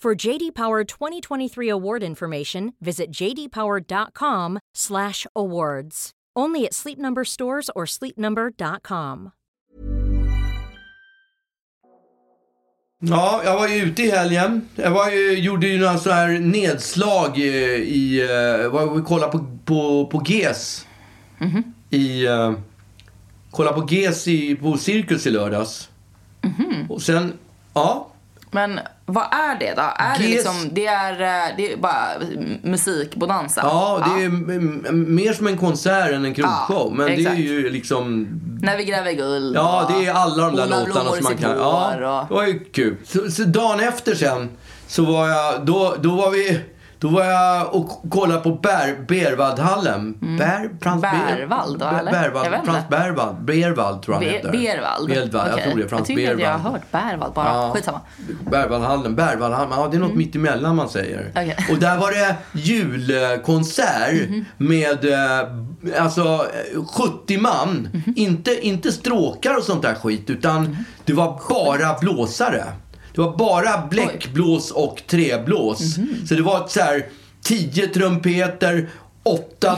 S5: For JD Power 2023 award information, visit jdpower.com/awards. Only at Sleep Number stores or sleepnumber.com.
S2: Ja, jag var ju ute i helgen. Jag var ju, gjorde ju några sådana här nedslag eh, i... eh, Vad vi kollade på, på, på GES. I... eh, Kolla på GES i, på Cirkus i lördags. Och sen... Ja.
S1: Men vad är det då? Är det,
S2: Ges-
S1: liksom, det, är, eh, det är bara musikbonanza?
S2: Ja, det är m- m- mer som en konsert än en krogshow.
S1: Ja,
S2: men
S1: exakt.
S2: det är ju liksom
S1: När vi gräver guld
S2: Ja,
S1: och
S2: det är alla de där
S1: odlar
S2: låtarna
S1: blommor i
S2: som man
S1: sitt
S2: kan...
S1: hår
S2: Ja,
S1: och-
S2: det var ju kul. Så, så dagen efter sen, så var jag... Då, då var vi... Då var jag och kollade på Ber, Berwaldhallen. Ber, Frans
S1: Mm. Berwald då, eller?
S2: Berwald,
S1: Jag vet inte.
S2: Frans Berwald. Berwald tror jag han
S1: Be-
S2: heter.
S1: Berwald.
S2: Berwald, jag
S1: Okej.
S2: tror det. Frans
S1: jag tycker att jag har
S2: Berwald.
S1: hört Berwald bara.
S2: Ja.
S1: Skitsamma.
S2: Berwaldhallen, Berwaldhallen. Ja, det är något mitt emellan man säger.
S1: Okej.
S2: Och där var det julkonsert med eh, alltså eh, 70 man. Inte, inte stråkar och sånt där skit, utan det var bara blåsare. Det var bara bläckblås och träblås. Så det var ett så här 10 trumpeter, åtta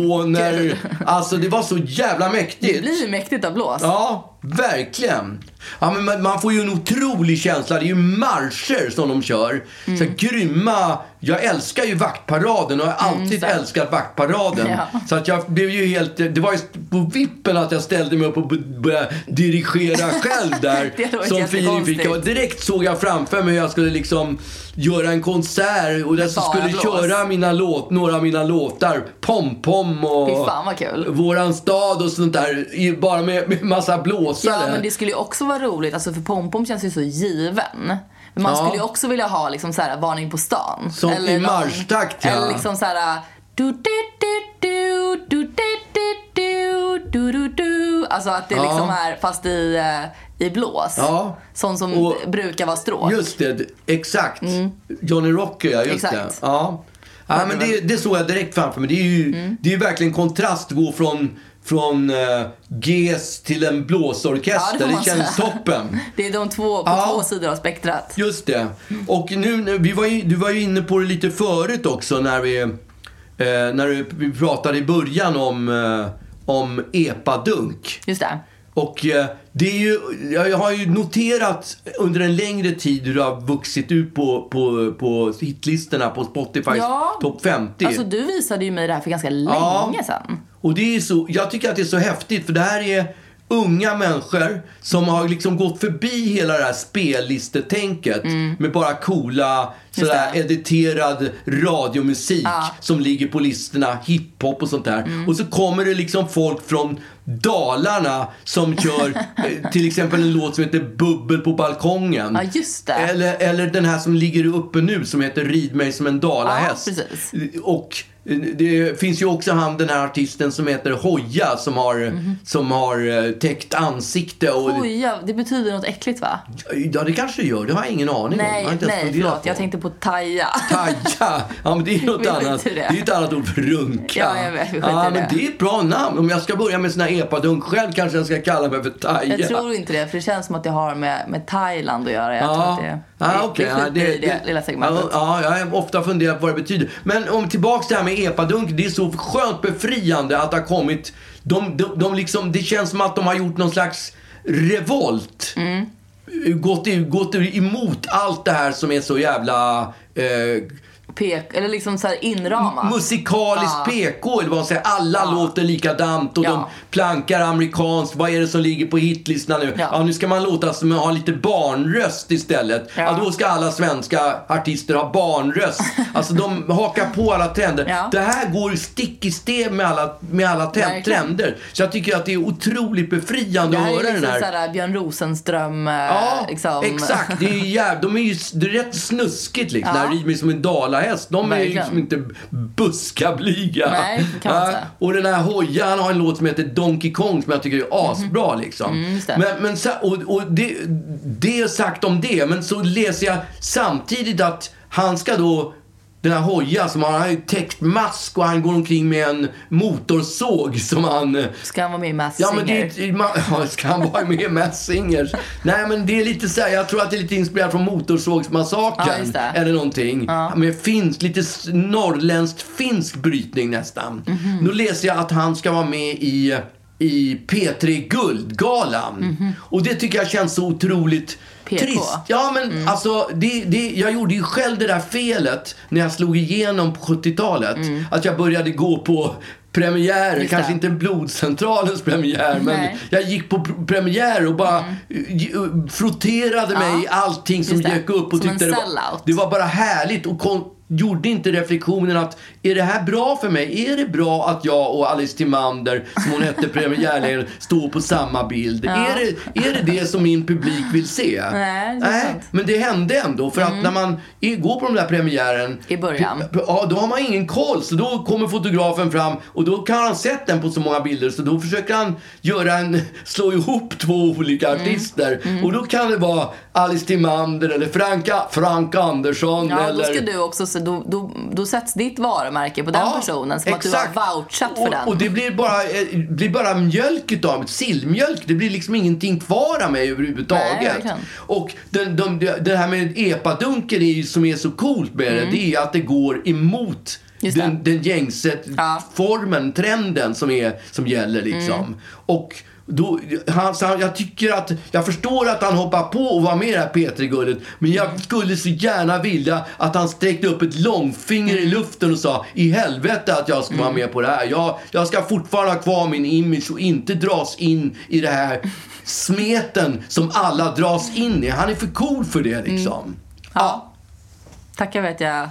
S2: tromboner. alltså det var så jävla mäktigt.
S1: Det blir ju mäktigt av blås.
S2: Ja, verkligen. Ja, men man, man får ju en otrolig känsla. Det är ju marscher som de kör. Så
S1: Mm.
S2: här, grymma. Jag älskar ju vaktparaden och jag har alltid älskat vaktparaden.
S1: Mm, Ja.
S2: Så att jag blev ju helt... Det var ju på vippen att jag ställde mig upp och b- började dirigera själv där.
S1: Det hade varit
S2: som Filip fick.
S1: jättekonstigt.
S2: Och direkt såg jag framför mig hur jag skulle liksom göra en konsert och där så
S1: bara
S2: skulle
S1: blås.
S2: köra mina låt, några av mina låtar. Pom-pom och...
S1: Fy fan vad kul.
S2: Våran stad och sånt där, i- bara med, med massa blåsare.
S1: Ja, men det skulle ju också vara roligt. Alltså, för pompom känns ju så given. Men man
S2: Ja.
S1: skulle ju också vilja ha liksom så här, varning på stan.
S2: Som i
S1: någon-
S2: marschtakt, ja.
S1: Eller liksom så här... Du, du, du, du, du, du, du, du, du, du, du. Alltså att det
S2: Ja.
S1: liksom är fast i, eh, i blås.
S2: Ja.
S1: Sånt som
S2: Och-
S1: brukar vara stråk.
S2: Just det, d- exakt. Johnny Rocker, ja. Just
S1: Mm. Exakt. Mm.
S2: det. Ja. Ja, men det, det såg jag direkt framför mig. Det är ju, det är ju verkligen kontrast att gå från från eh, GES till en blåsorkester.
S1: får man
S2: det känns
S1: säga.
S2: toppen.
S1: Det är de två på
S2: Ja.
S1: två sidor av spektrat.
S2: Just det. Och nu, nu vi var ju, du var ju inne på det lite förut också när vi, eh, när du- vi pratade i början om, eh, om epadunk.
S1: Just det.
S2: Och eh, det är ju, jag har ju noterat under en längre tid hur du har vuxit ut på, på, på hitlistorna på Spotifys
S1: Ja.
S2: topp 50.
S1: Alltså du visade ju mig det här för ganska
S2: Ja.
S1: länge sedan.
S2: Och det är så, jag tycker att det är så häftigt för det här är unga människor som har liksom gått förbi hela det här spellistetänket med bara coola, sådär editerad radiomusik som ligger på listorna, hiphop och sånt där. Och så kommer det liksom folk från Dalarna som kör eh, till exempel en låt som heter Bubbel på balkongen.
S1: Ja, just det.
S2: Eller, eller den här som ligger uppe nu som heter Rid mig som en dalahäst.
S1: Ja, precis.
S2: Och eh, det finns ju också han, den här artisten som heter Hoja som har, som har eh, täckt ansikte och...
S1: Mhm. Oj, ja, det betyder något äckligt va?
S2: Ja, det kanske det gör. Det har jag ingen aning om. Jag har
S1: Nej,
S2: inte ens
S1: nej
S2: funderat
S1: förlåt.
S2: på.
S1: Jag tänkte på taja.
S2: Taja! Ja, men det är något
S1: Vi skiter
S2: annat.
S1: i det.
S2: Det är ett annat ord för runka.
S1: Ja, jag vet. Vi skiter
S2: ja,
S1: i
S2: men
S1: det.
S2: det är ett bra namn. Om jag ska börja med såna här epadunk själv kanske jag ska kalla mig för Taja.
S1: Jag tror inte det, för det känns som att det har med, med Thailand att göra. Jag tror
S2: Ja,
S1: att det,
S2: ja
S1: det,
S2: okej.
S1: det
S2: Ja,
S1: skiter i det, lilla segmentet.
S2: Ja, ja, jag har ofta funderat på vad det betyder. Men om tillbaks till det här med epadunk. Det är så skönt befriande att det har kommit. De, de, de liksom, det känns som att de har gjort någon slags revolt.
S1: Mm.
S2: Gått, i- gått emot allt det här som är så jävla eh,
S1: Pek, eller liksom så här inramat.
S2: musikaliskt PK. Eller vad man säger. Alla låter likadant och
S1: Ja.
S2: de plankar amerikanskt. Vad är det som ligger på hitlistorna nu? Ja.
S1: Ja.
S2: nu ska man låta som ha lite barnröst istället. Ja.
S1: Ja.
S2: då ska alla svenska artister ha barnröst. Alltså de hakar på alla trender.
S1: Ja.
S2: Det här går stick i stäv med alla, med alla te-
S1: Verkligen.
S2: trender. Så jag tycker att det är otroligt befriande
S1: det
S2: att
S1: här är
S2: höra
S1: liksom
S2: den här.
S1: så här Björn Rosenström. eh,
S2: Ja,
S1: liksom.
S2: exakt. Det är ju jäv... De är ju s- det är rätt snuskigt liksom.
S1: Ja.
S2: Det här rider mig som en dalahäst. De är ju
S1: Verkligen.
S2: liksom inte buskablyga.
S1: Nej, det kan man
S2: Ja,
S1: säga.
S2: Och den här Hoja, han har en låt som heter Donkey Kong som jag tycker är asbra liksom.
S1: Mhm. Mm, just det.
S2: men, men så- och, och det, det är sagt om det. Men så läser jag samtidigt att han ska då den här Hoja som har, han har ju täckt mask och han går omkring med en motorsåg som han eh,
S1: Ska han vara med i Masked
S2: Ja,
S1: Singer?
S2: men det är, ju- man, ja, ska han vara med i Mass Singers? Nej, men det är lite så här, jag tror att det är lite inspirerat från
S1: Ja,
S2: Motorsågsmassakern
S1: just det.
S2: eller någonting. Med finsk, lite s- norrländskt finsk brytning nästan.
S1: Mhm.
S2: Nu läser jag att han ska vara med i, i P3 Guldgalan.
S1: Mhm.
S2: Och det tycker jag känns så otroligt
S1: PK.
S2: trist. Ja, men
S1: mm.
S2: alltså, det, det, jag gjorde ju själv det där felet när jag slog igenom på 70-talet. Att jag började gå på premiärer,
S1: Mm. Just
S2: kanske
S1: det.
S2: inte Blodcentralens premiär, men
S1: Nej.
S2: jag gick på pr- premiär och bara mm. frotterade mig i allting som
S1: Just det.
S2: dök upp och
S1: Som en
S2: tyckte det var,
S1: sellout.
S2: det var bara härligt och kon- gjorde inte reflektionen att är det här bra för mig? Är det bra att jag och Alice Timander, som hon hette premiärledaren, står på samma bild? Är, det, är det det som min publik vill se?
S1: Nej, det är sant. Mm.
S2: men det hände ändå för att när man i- går på den där premiären
S1: I början.
S2: Ja, då har man ingen koll. Så då kommer fotografen fram och då kan han ha sett den på så många bilder. Så då försöker han göra en, slå ihop två olika
S1: Mm.
S2: artister. Och då kan det vara Alice Timander eller Franka, Frank Andersson
S1: Ja,
S2: eller...
S1: då ska du också, se- då, då, då sätts ditt varumärke på den personen som att du har vouchat för
S2: och,
S1: den.
S2: Och det blir bara, eh, blir bara mjölk utav det, sillmjölk. Det blir liksom ingenting kvar av mig
S1: Nej,
S2: överhuvudtaget.
S1: verkligen.
S2: och den, de, det- det här med epadunken är ju, som är så coolt med det, det är att det går emot
S1: Mm. Just
S2: den, den gängse
S1: Ja.
S2: formen, trenden som, är, som gäller liksom.
S1: Mm.
S2: Och då, han, så han, jag tycker att, jag förstår att han hoppar på och var med i det här P3-guldet. Men jag skulle så gärna vilja att han sträckte upp ett långfinger
S1: Mm.
S2: i luften och sa i helvete att jag ska vara med på det här. Jag, jag ska fortfarande ha kvar min image och inte dras in i det här smeten som alla dras in i. Han är för cool för det liksom.
S1: Mm. Ja. Tackar vet jag.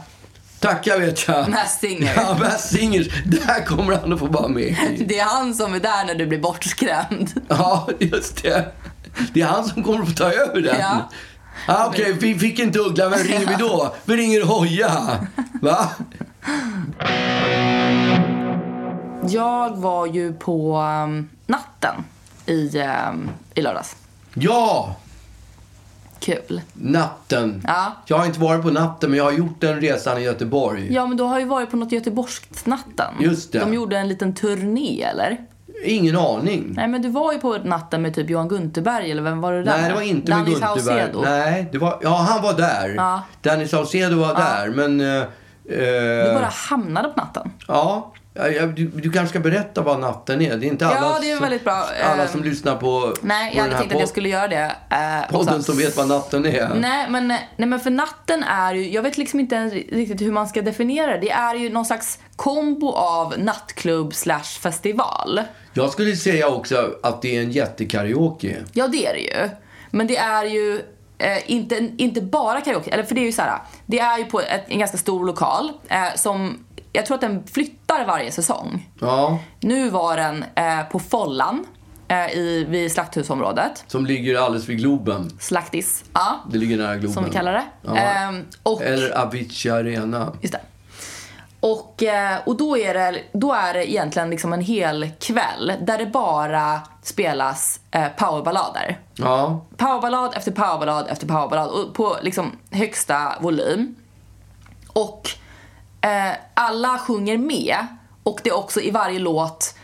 S2: Tackar vet jag.
S1: Mass Singer.
S2: Ja, Mass Singers. Där kommer han att få vara med i.
S1: Det är han som är där när du blir bortskrämd.
S2: Ja, just det. Det är han som kommer att få ta över den.
S1: Ja.
S2: Ah, Okej, vi fick inte Uggla. Vem ringer vi då? Vi ringer Hoja. Va?
S1: Jag var ju på um, natten i, um, i lördags.
S2: Ja,
S1: Kul.
S2: natten.
S1: Ja.
S2: Jag har inte varit på natten, men jag har gjort den resan i Göteborg.
S1: Ja, men du har ju varit på något Göteborgsnatten.
S2: Just det.
S1: De gjorde en liten turné, eller?
S2: Ingen aning.
S1: Nej men du var ju på natten med typ Johan Gunterberg eller vem var det där
S2: Nej, det var inte med
S1: Danny
S2: Gunterberg.
S1: Saucedo.
S2: Nej, det var, ja, han var där.
S1: Ja.
S2: Danny Saucedo var där, men... eh, eh,
S1: Du bara hamnade på natten.
S2: Ja, ja, ja, du, du kanske ska berätta vad natten är. Det är inte
S1: Ja,
S2: alla,
S1: det är
S2: som-
S1: väldigt bra.
S2: alla
S1: Eh,
S2: som lyssnar på,
S1: Nej,
S2: på
S1: jag
S2: den
S1: hade
S2: här
S1: tänkt att jag skulle göra det. eh, och
S2: podden
S1: så-
S2: som vet vad natten är.
S1: Nej men, nej men för natten är ju, jag vet liksom inte ens riktigt hur man ska definiera det. Det är ju någon slags kombo av nattklubb slash festival.
S2: Jag skulle säga också att det är en jättekaraoke.
S1: Ja det är det ju. Men det är ju eh, inte, inte bara karaoke, eller för det är ju så här. Det är ju på ett, en ganska stor lokal eh, som, jag tror att den flyttar varje säsong.
S2: Ja,
S1: Nu var den eh, på Follan eh, i, vid Slakthusområdet.
S2: som ligger alldeles vid Globen.
S1: Slaktis, ja.
S2: Det ligger nära Globen.
S1: Som vi kallar det.
S2: Mm. Ja.
S1: Ehm, och,
S2: Eller Avicii Arena.
S1: Just det. Och, eh, och då, är det, då är det egentligen liksom en hel kväll där det bara spelas eh, powerballader.
S2: Ja,
S1: Powerballad efter powerballad efter powerballad och på liksom högsta volym. Och eh, alla sjunger med och det är också i varje låt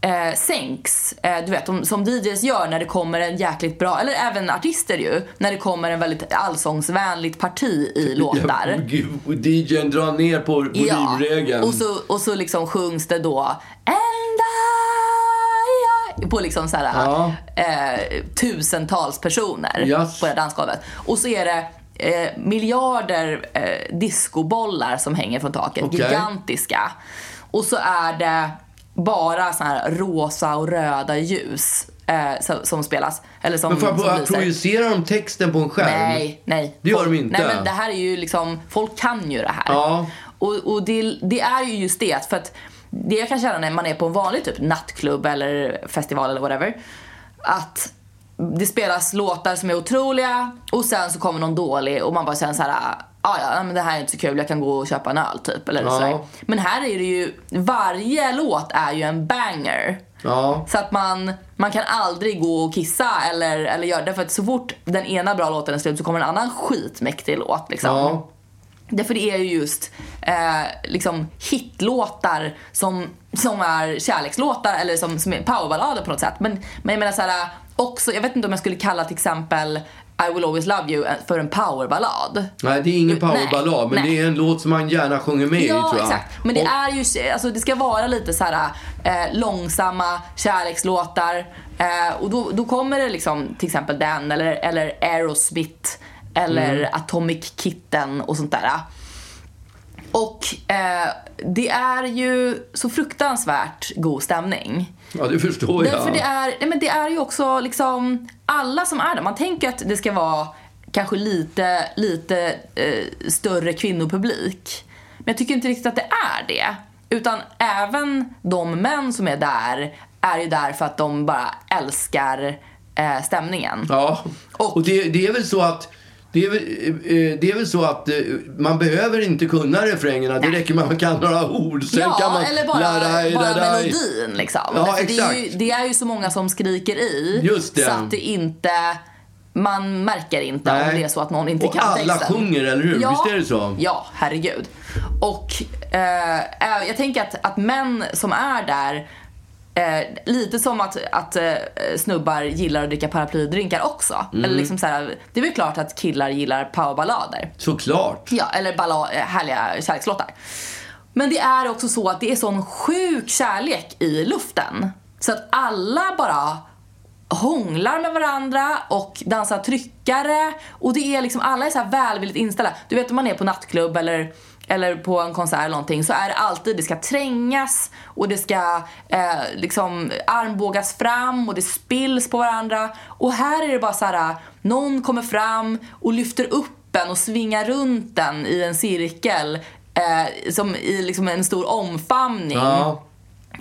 S1: eh, sänks, eh, du vet de, som DJs gör när det kommer en jäkligt bra, eller även artister ju, när det kommer en väldigt allsångsvänligt parti i låtar.
S2: Ja, gud, och DJn drar ner på volymregeln.
S1: Och så, och så liksom sjungs det då And I, I på liksom så här,
S2: Ja.
S1: eh, tusentals personer
S2: Yes.
S1: på det här dansgolvet. Och så är det eh, miljarder eh, discobollar som hänger från taket.
S2: Okej.
S1: Gigantiska. Och så är det bara så här rosa och röda ljus eh, som, som spelas. Eller som,
S2: Men får jag
S1: som
S2: bara
S1: lyser.
S2: projicera de texten på en skärm?
S1: Nej, nej.
S2: Det gör
S1: folk,
S2: de inte.
S1: Nej, men det här är ju liksom, folk kan ju det här.
S2: Ja.
S1: Och, och det, det är ju just det, för att det jag kan känna när man är på en vanlig typ nattklubb eller festival eller whatever, att det spelas låtar som är otroliga och sen så kommer någon dålig och man bara känner såhär, ah, ja men det här är inte så kul, jag kan gå och köpa en öl typ. Eller
S2: Ja.
S1: sådär. Men här är det ju, varje låt är ju en banger.
S2: Ja.
S1: Så att man, man kan aldrig gå och kissa eller, eller göra det. För att så fort den ena bra låten är slut så kommer en annan skitmäktig låt. Liksom.
S2: Ja.
S1: Därför det är ju just eh, liksom hitlåtar som, som är kärlekslåtar eller som, som är powerballader på något sätt. Men, men jag menar såhär, också, jag vet inte om jag skulle kalla till exempel I will always love you eh, för en powerballad.
S2: Nej, det är ingen
S1: Nej,
S2: powerballad, men
S1: nej.
S2: det är en låt som man gärna sjunger med i, tror
S1: Ja,
S2: jag.
S1: exakt. Men det
S2: Och-
S1: är ju, alltså det ska vara lite så här eh, långsamma kärlekslåtar. Eh, och då, då kommer det liksom till exempel den eller, eller Aerosmith eller
S2: Mm.
S1: Atomic Kitten och sånt där. Och eh, det är ju så fruktansvärt god stämning.
S2: Ja, det förstår jag.
S1: Därför det är, nej men det är ju också liksom alla som är där. Man tänker att det ska vara kanske lite, lite eh, större kvinnopublik. Men jag tycker inte riktigt att det är det. Utan även de män som är där är ju där för att de bara älskar eh, stämningen.
S2: Ja, och,
S1: Och-
S2: det, det är väl så att det är, väl, eh, det är väl så att eh, man behöver inte kunna refrängerna. Det räcker med att man kan några ord. Sen
S1: ja,
S2: kan man
S1: eller bara,
S2: Larai,
S1: bara
S2: larai.
S1: melodin liksom.
S2: Ja,
S1: Därför det, är ju,
S2: exakt.
S1: det är ju så många som skriker i
S2: Just det.
S1: så att det inte, man märker inte
S2: Nej.
S1: om det är så att någon inte
S2: Och
S1: kan
S2: alla
S1: texten.
S2: sjunger, eller hur? Visst är det så?
S1: Ja, herregud. Och eh, eh, jag tänker att, att män som är där Eh, lite som att, att eh, snubbar gillar att dricka paraplydrinkar också.
S2: Mm.
S1: Eller liksom så här, det är väl klart att killar gillar powerballader.
S2: Såklart.
S1: Ja, eller balla, eh, härliga kärlekslåtar. Men det är också så att det är sån sjuk kärlek i luften. Så att alla bara hånglar med varandra och dansar tryckare. Och det är liksom, alla är så här välvilligt inställda. Du vet om man är på nattklubb eller eller på en konsert eller någonting så är det alltid, det ska trängas och det ska eh, liksom armbågas fram och det spills på varandra. Och här är det bara så här, någon kommer fram och lyfter upp kroppen och svinga runt den i en cirkel eh, som i liksom en stor omfamning.
S2: Ja.
S1: Mm.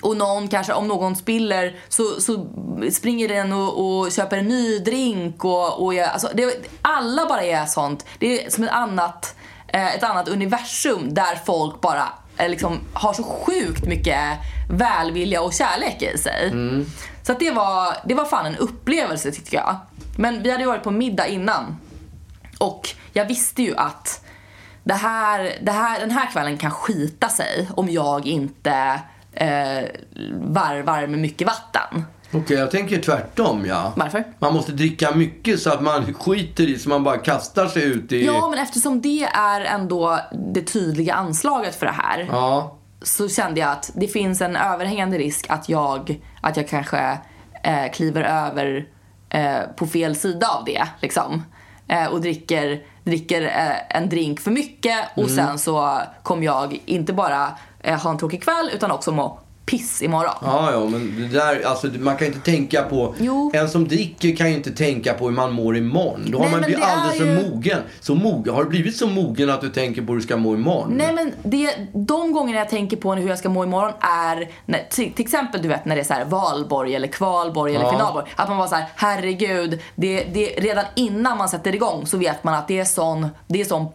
S1: Och någon kanske, om någon spiller så, så springer den och, och köper en ny drink och, och jag, alltså det, alla bara är sånt. Det är som ett annat, eh, ett annat universum där folk bara eh, liksom har så sjukt mycket välvilja och kärlek i sig. Så att det var, det var fan en upplevelse tycker jag. Men vi hade ju varit på middag innan och jag visste ju att det här, det här, den här kvällen kan skita sig om jag inte eh, varvar med mycket vatten.
S2: Okej, jag tänker tvärtom ja.
S1: Varför?
S2: Man måste dricka mycket så att man skiter i så man bara kastar sig ut i...
S1: Ja, men eftersom det är ändå det tydliga anslaget för det här
S2: ja.
S1: så kände jag att det finns en överhängande risk att jag, att jag kanske eh, kliver över eh, på fel sida av det. Liksom. Eh, och dricker, dricker eh, en drink för mycket och sen så kommer jag inte bara eh, ha en tråkig kväll utan också må piss imorgon.
S2: Ja, ja, men det där, alltså, man kan inte tänka på...
S1: Jo.
S2: En som dricker kan ju inte tänka på hur man mår imorgon. Då har
S1: Nej,
S2: man
S1: men
S2: blivit
S1: det är
S2: alldeles för
S1: ju-
S2: mogen. Så mogen. Har du blivit så mogen att du tänker på hur du ska må imorgon?
S1: Nej men det, de gångerna jag tänker på hur jag ska må imorgon är när, till, till exempel du vet när det är så här valborg eller kvalborg eller
S2: Ja.
S1: finalborg. Att man bara så här, herregud, det, det, redan innan man sätter igång så vet man att det är sån, det är sån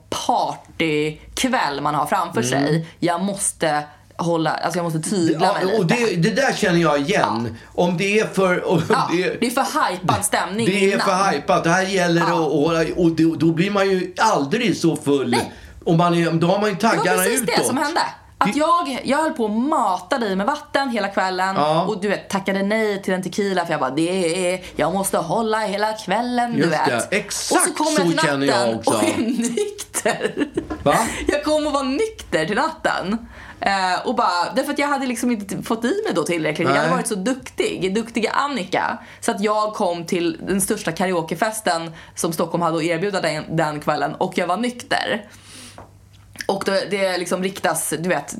S1: partykväll man har framför sig. Jag måste hålla, alltså jag måste tygla
S2: Mm. Ja,
S1: mig lite.
S2: och det, det där känner jag igen. Om det är för... Om
S1: ja,
S2: det,
S1: det är för hypad stämning
S2: det är
S1: innan.
S2: för hypat. Det här gäller
S1: Ja.
S2: att hålla... Och det, då blir man ju aldrig så full. Och man är, då har man ju
S1: Det var
S2: taggarna
S1: precis
S2: utåt.
S1: det som hände. Att
S2: Det-
S1: jag, jag höll på att mata dig med vatten hela kvällen
S2: Ja.
S1: och du vet, tackade nej till en tequila för jag bara det är, jag måste hålla hela kvällen du
S2: Just
S1: vet.
S2: det. Exakt
S1: och så kommer jag
S2: så
S1: till natten
S2: känner jag också.
S1: och är nykter.
S2: Va?
S1: Jag kommer att vara nykter till natten. Eh, och bara, därför att jag hade liksom inte fått i mig då tillräckligt. Jag hade
S2: Nej.
S1: varit så duktig, duktiga Annika. Så att jag kom till den största karaokefesten som Stockholm hade att erbjuda den, den kvällen och jag var nykter. Och då, det liksom riktas, du vet,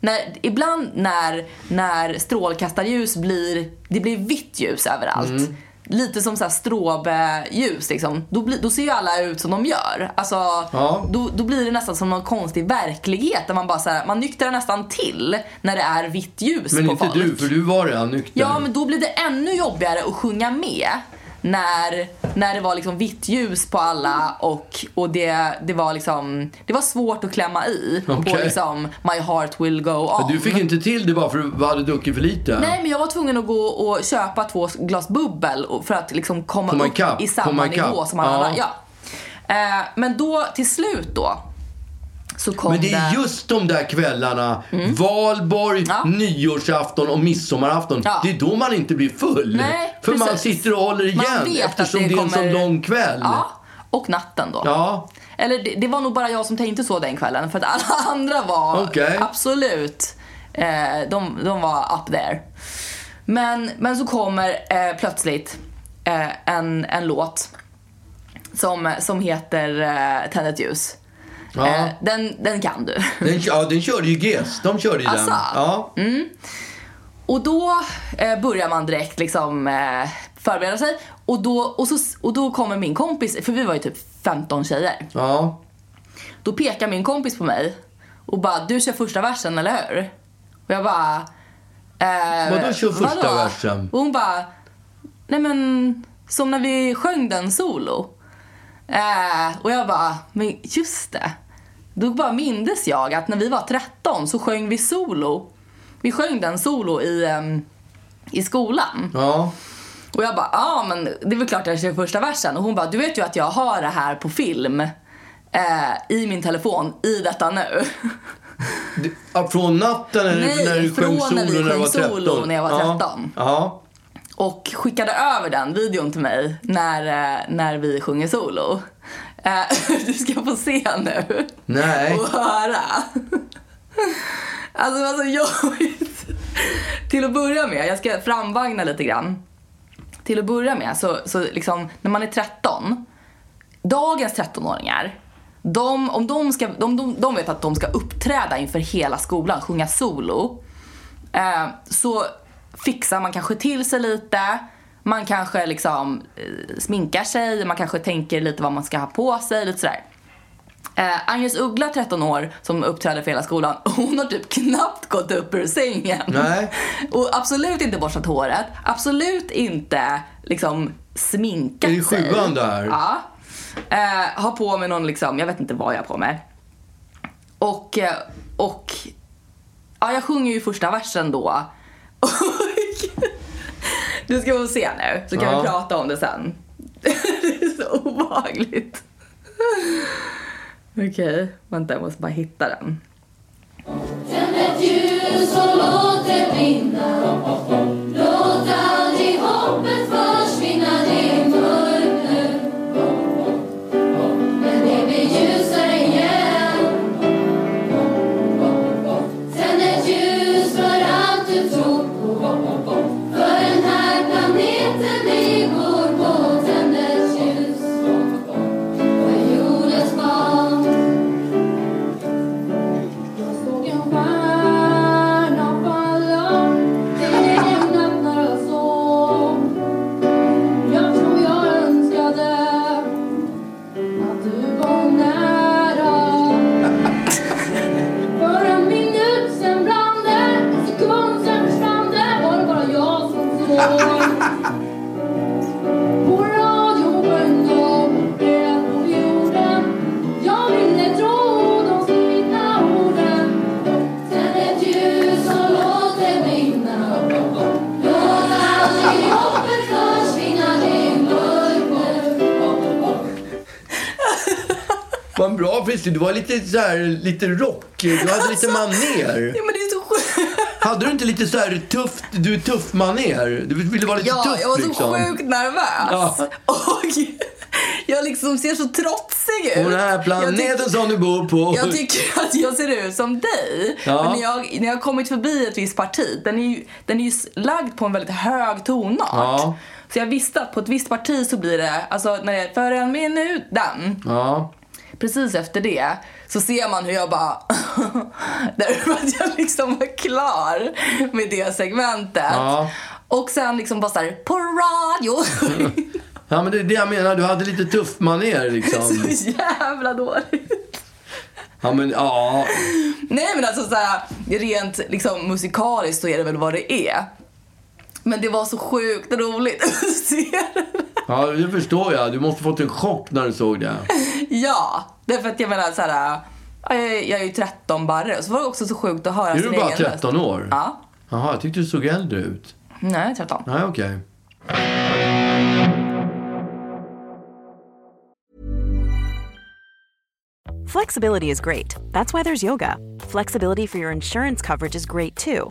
S1: när, ibland när, när strålkastarljus blir, det blir vitt ljus överallt.
S2: Mm.
S1: Lite som så här stråbeljus liksom. Då, blir- då ser ju alla ut som de gör. Alltså,
S2: Ja.
S1: då, då blir det nästan som någon konstig verklighet där man bara så här, man nyktrar nästan till när det är vitt ljus
S2: Men
S1: på
S2: inte
S1: folk.
S2: du, för du var redan nykter.
S1: Ja, men då blir det ännu jobbigare att sjunga med när, när det var liksom vitt ljus på alla och, och det, det var liksom det var svårt att klämma i på
S2: Okej.
S1: liksom My heart will go
S2: Men
S1: on.
S2: Du fick inte till det bara för du hade druckit för lite.
S1: Nej men jag var tvungen att gå och köpa två glas bubbel och- för att liksom komma
S2: Komma
S1: upp
S2: ikapp,
S1: i samma
S2: komma
S1: nivå
S2: ikapp,
S1: som alla andra. Ja.
S2: ja.
S1: Eh, men då till slut då så kom
S2: Men det är just de där kvällarna, valborg,
S1: Mm. Ja.
S2: nyårsafton och midsommarafton.
S1: Ja,
S2: det är då man inte blir full.
S1: Nej,
S2: För man
S1: precis.
S2: sitter och håller igen
S1: Man vet att
S2: eftersom
S1: det
S2: det, är en
S1: kommer-
S2: sån lång kväll.
S1: Ja, och natten då.
S2: Ja.
S1: Eller det, det var nog bara jag som tänkte så den kvällen för att alla andra var
S2: Okej.
S1: absolut, eh, de, de var up there. Men, men så kommer eh, plötsligt eh, en, en låt som, som heter eh, Tänd ett ljus.
S2: Ja.
S1: Eh, den, den kan du.
S2: Den, ja, den körde ju GES. De körde ju
S1: Asså? Mm.
S2: den. Ja.
S1: Och då eh, börjar man direkt liksom eh, förbereda sig och då, och, så, och då kommer min kompis, för vi var ju typ 15 tjejer.
S2: ja.
S1: Då pekar min kompis på mig och bara, du kör första versen eller hur? Och jag bara, eh,
S2: Vadå kör första versen?
S1: Och hon bara, nej men som när vi sjöng den solo. Eh, och jag bara, men just det. Då bara mindes jag att när vi var 13 så sjöng vi solo. Vi sjöng den solo i, ehm, i skolan.
S2: ja.
S1: Och jag bara, ja men det är väl klart jag kör första versen. Och hon bara, du vet ju att jag har det här på film. Eh, I min telefon, i detta nu.
S2: Det- ja. Från natten eller
S1: Nej,
S2: när du sjöng
S1: från när vi
S2: solo när du
S1: sjöng
S2: var 13?
S1: solo när jag var 13.
S2: Ja. ja.
S1: Och skickade över den videon till mig när, eh, när vi sjunger solo. Eh, du ska få se nu.
S2: Nej.
S1: Och höra. Alltså det var så jobbigt. Till att börja med, jag ska framvagna lite grann. Till att börja med, så, så liksom, när man är 13, dagens 13-åringar, de, om de, ska, de, de, de vet att de ska uppträda inför hela skolan, sjunga solo. Eh, så fixar man kanske till sig lite. Man kanske liksom eh, sminkar sig, man kanske tänker lite vad man ska ha på sig, lite sådär. Eh, Agnes Uggla, 13 år, som uppträder för hela skolan, hon har typ knappt gått upp ur sängen.
S2: Nej.
S1: Och absolut inte borstat håret, absolut inte liksom sminkat
S2: Är det
S1: sig.
S2: sjuan där?
S1: Ja. Eh, har på mig någon liksom, jag vet inte vad jag har på mig. Och, eh, och ja, jag sjunger ju första versen då. Och du ska få se nu, så kan
S2: Ja.
S1: vi prata om det sen. det är så obehagligt. Okej, vänta jag måste bara hitta den.
S6: Tänd ett ljus och låt det försvinna Låt aldrig hoppet försvinna, det är mörker Men det blir ljusare igen Tänd ett ljus för allt du tror på För den här planeten vi går på Tänd ett ljus för jordens barn jag såg en stjärna falla till en natt när jag sov. Jag tror jag önskade att du var nära. För en minut sen brann det, en sekund sen försvann det. Var det bara jag som sov? På radion sjöng de det på jorden. Jag ville tro de skrivna orden. Tänd ett ljus och låt det brinna. Låt aldrig hoppet försvinna, det är mörker.
S2: Vad en bra frisyr. Du var lite så här, lite rock. Du hade lite manér.
S1: Ja, men det är så sjukt.
S2: Hade du inte lite så här tufft, du är tuff manér? Du ville vara lite
S1: Ja,
S2: tuff
S1: jag var så
S2: liksom.
S1: sjukt nervös.
S2: Ja.
S1: Och jag liksom ser så trotsig ut.
S2: På den här
S1: Jag
S2: planeten
S1: tyck-
S2: som du bor på.
S1: jag tycker att jag ser ut som dig.
S2: Ja.
S1: Men när jag, när jag har kommit förbi ett visst parti, den är ju, den är ju s- lagd på en väldigt hög tonart.
S2: Ja.
S1: Så jag visste att på ett visst parti så blir det, alltså när det är för en minut, den.
S2: Ja.
S1: Precis efter det så ser man hur jag bara... Därför att jag liksom var klar med det segmentet.
S2: Ja.
S1: Och sen liksom bara såhär, på radio.
S2: ja, men det är det jag menar. Du hade lite tuff manér liksom.
S1: så jävla dåligt.
S2: Ja, men ja.
S1: Nej men alltså såhär, rent liksom musikaliskt så är det väl vad det är. Men det var så sjukt roligt att se det.
S2: Ja, det förstår jag. Du måste fått en chock när du såg det.
S1: Ja, därför att jag menar såhär, ja, jag är- jag är ju 13 barre. Så var det också så sjukt att höra
S2: Är
S1: sin
S2: du bara
S1: egen röst.
S2: 13 år?
S1: Ja.
S2: Jaha, jag tyckte du såg äldre ut.
S1: Nej, 13.
S2: Nej, okej.
S7: Flexibility is great. That's why there's yoga. Flexibility for your insurance coverage is great too.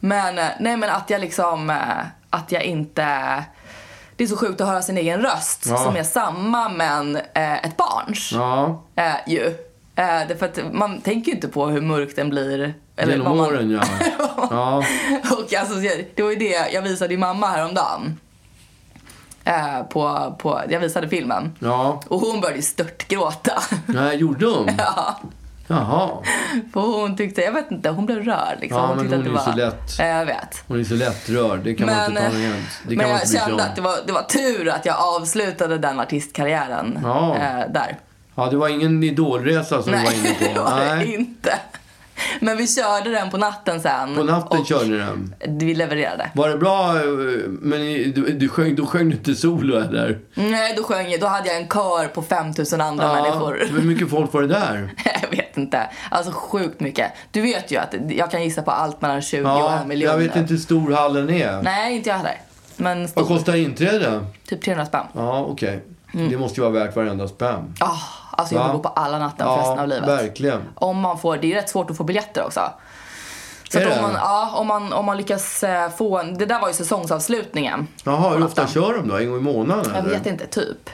S1: Men, eh, nej men att jag liksom, eh, att jag inte... Det är så sjukt att höra sin egen röst
S2: Ja.
S1: som är samma men eh, ett barns.
S2: Ja,
S1: Eh, ju. Eh, därför att man tänker ju inte på hur mörk den blir.
S2: genom
S1: vad man-
S2: åren ja. Ja,
S1: Och alltså, det var ju det jag visade din mamma häromdagen. Eh, på, på, jag visade filmen.
S2: ja.
S1: Och hon började ju störtgråta.
S2: Nej, gjorde hon?
S1: ja.
S2: Jaha.
S1: För hon tyckte, jag vet inte, hon blev rörd liksom.
S2: Ja,
S1: hon
S2: men
S1: tyckte
S2: hon
S1: att
S2: är
S1: det
S2: ju
S1: var...
S2: så lätt.
S1: Eh, jag vet.
S2: Hon är så lättrörd. Det kan man inte ta
S1: eh,
S2: igen. Det
S1: men
S2: kan man inte
S1: jag
S2: bry sig
S1: kände
S2: om.
S1: att det var, det var tur att jag avslutade den artistkarriären
S2: Ja.
S1: eh, där.
S2: Ja, det var ingen idolresa som du var inne
S1: det
S2: på.
S1: var det
S2: Nej.
S1: inte. Men vi körde den på natten sen.
S2: På natten
S1: och
S2: körde ni den.
S1: Vi levererade.
S2: Var det bra? eh, Men i- du, du sjöng, då sjöng du inte solo eller?
S1: Nej, då sjöng jag, då hade jag en kör på 5000 andra människor.
S2: Hur mycket folk var det där?
S1: Jag vet inte. Alltså sjukt mycket. Du vet ju att jag kan gissa på allt mellan 20 och
S2: Ja,
S1: en miljon.
S2: jag vet inte hur stor hallen är.
S1: Nej, inte jag heller. Men
S2: Vad
S1: stor,
S2: kostar inträde?
S1: typ 300 spänn.
S2: Ja, okej.
S1: Mm.
S2: Det måste ju vara värt varenda spänn.
S1: Ah, alltså jag
S2: Va?
S1: vill gå på alla natten för resten
S2: Ja,
S1: av livet.
S2: verkligen.
S1: Om man får, det är rätt svårt att få biljetter också. Så
S2: Är
S1: att om
S2: det?
S1: man, ja, om man, om man lyckas eh, få en, det där var ju säsongsavslutningen.
S2: Jaha, hur ofta
S1: Natten.
S2: kör de då? En gång i månaden
S1: Jag
S2: eller?
S1: vet inte, typ.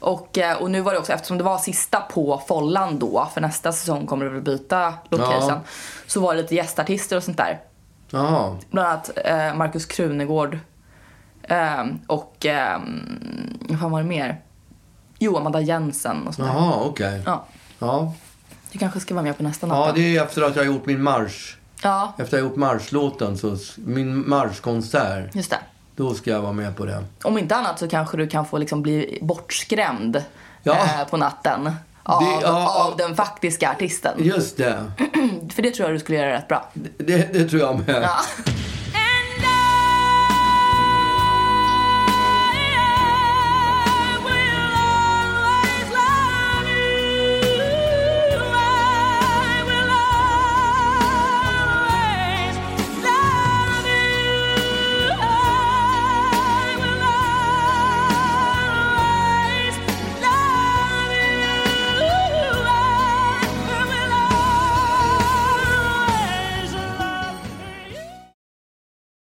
S1: Och, eh, och nu var det också, eftersom det var sista på Follan då, för nästa säsong kommer det väl byta location.
S2: Ja.
S1: Så var det lite gästartister och sånt där.
S2: Jaha.
S1: Bland annat eh, Markus Krunegård ehm, och ehm, vad fan var det mer? Jo, Amanda Jensen och sånt där.
S2: Jaha, okej.
S1: Ja,
S2: Ja.
S1: du kanske ska vara med på nästa
S2: ja,
S1: natt.
S2: det är efter att jag har gjort min marsch.
S1: ja,
S2: Efter att jag har gjort marschlåten, så s- min marschkonsert.
S1: just det.
S2: Då ska jag vara med på det.
S1: Om inte annat så kanske du kan få liksom bli bortskrämd
S2: Ja.
S1: eh, på natten av,
S2: Det- ja,
S1: av den faktiska artisten.
S2: Just det.
S1: För det tror jag du skulle göra rätt bra.
S2: Det, det tror jag med.
S1: Ja.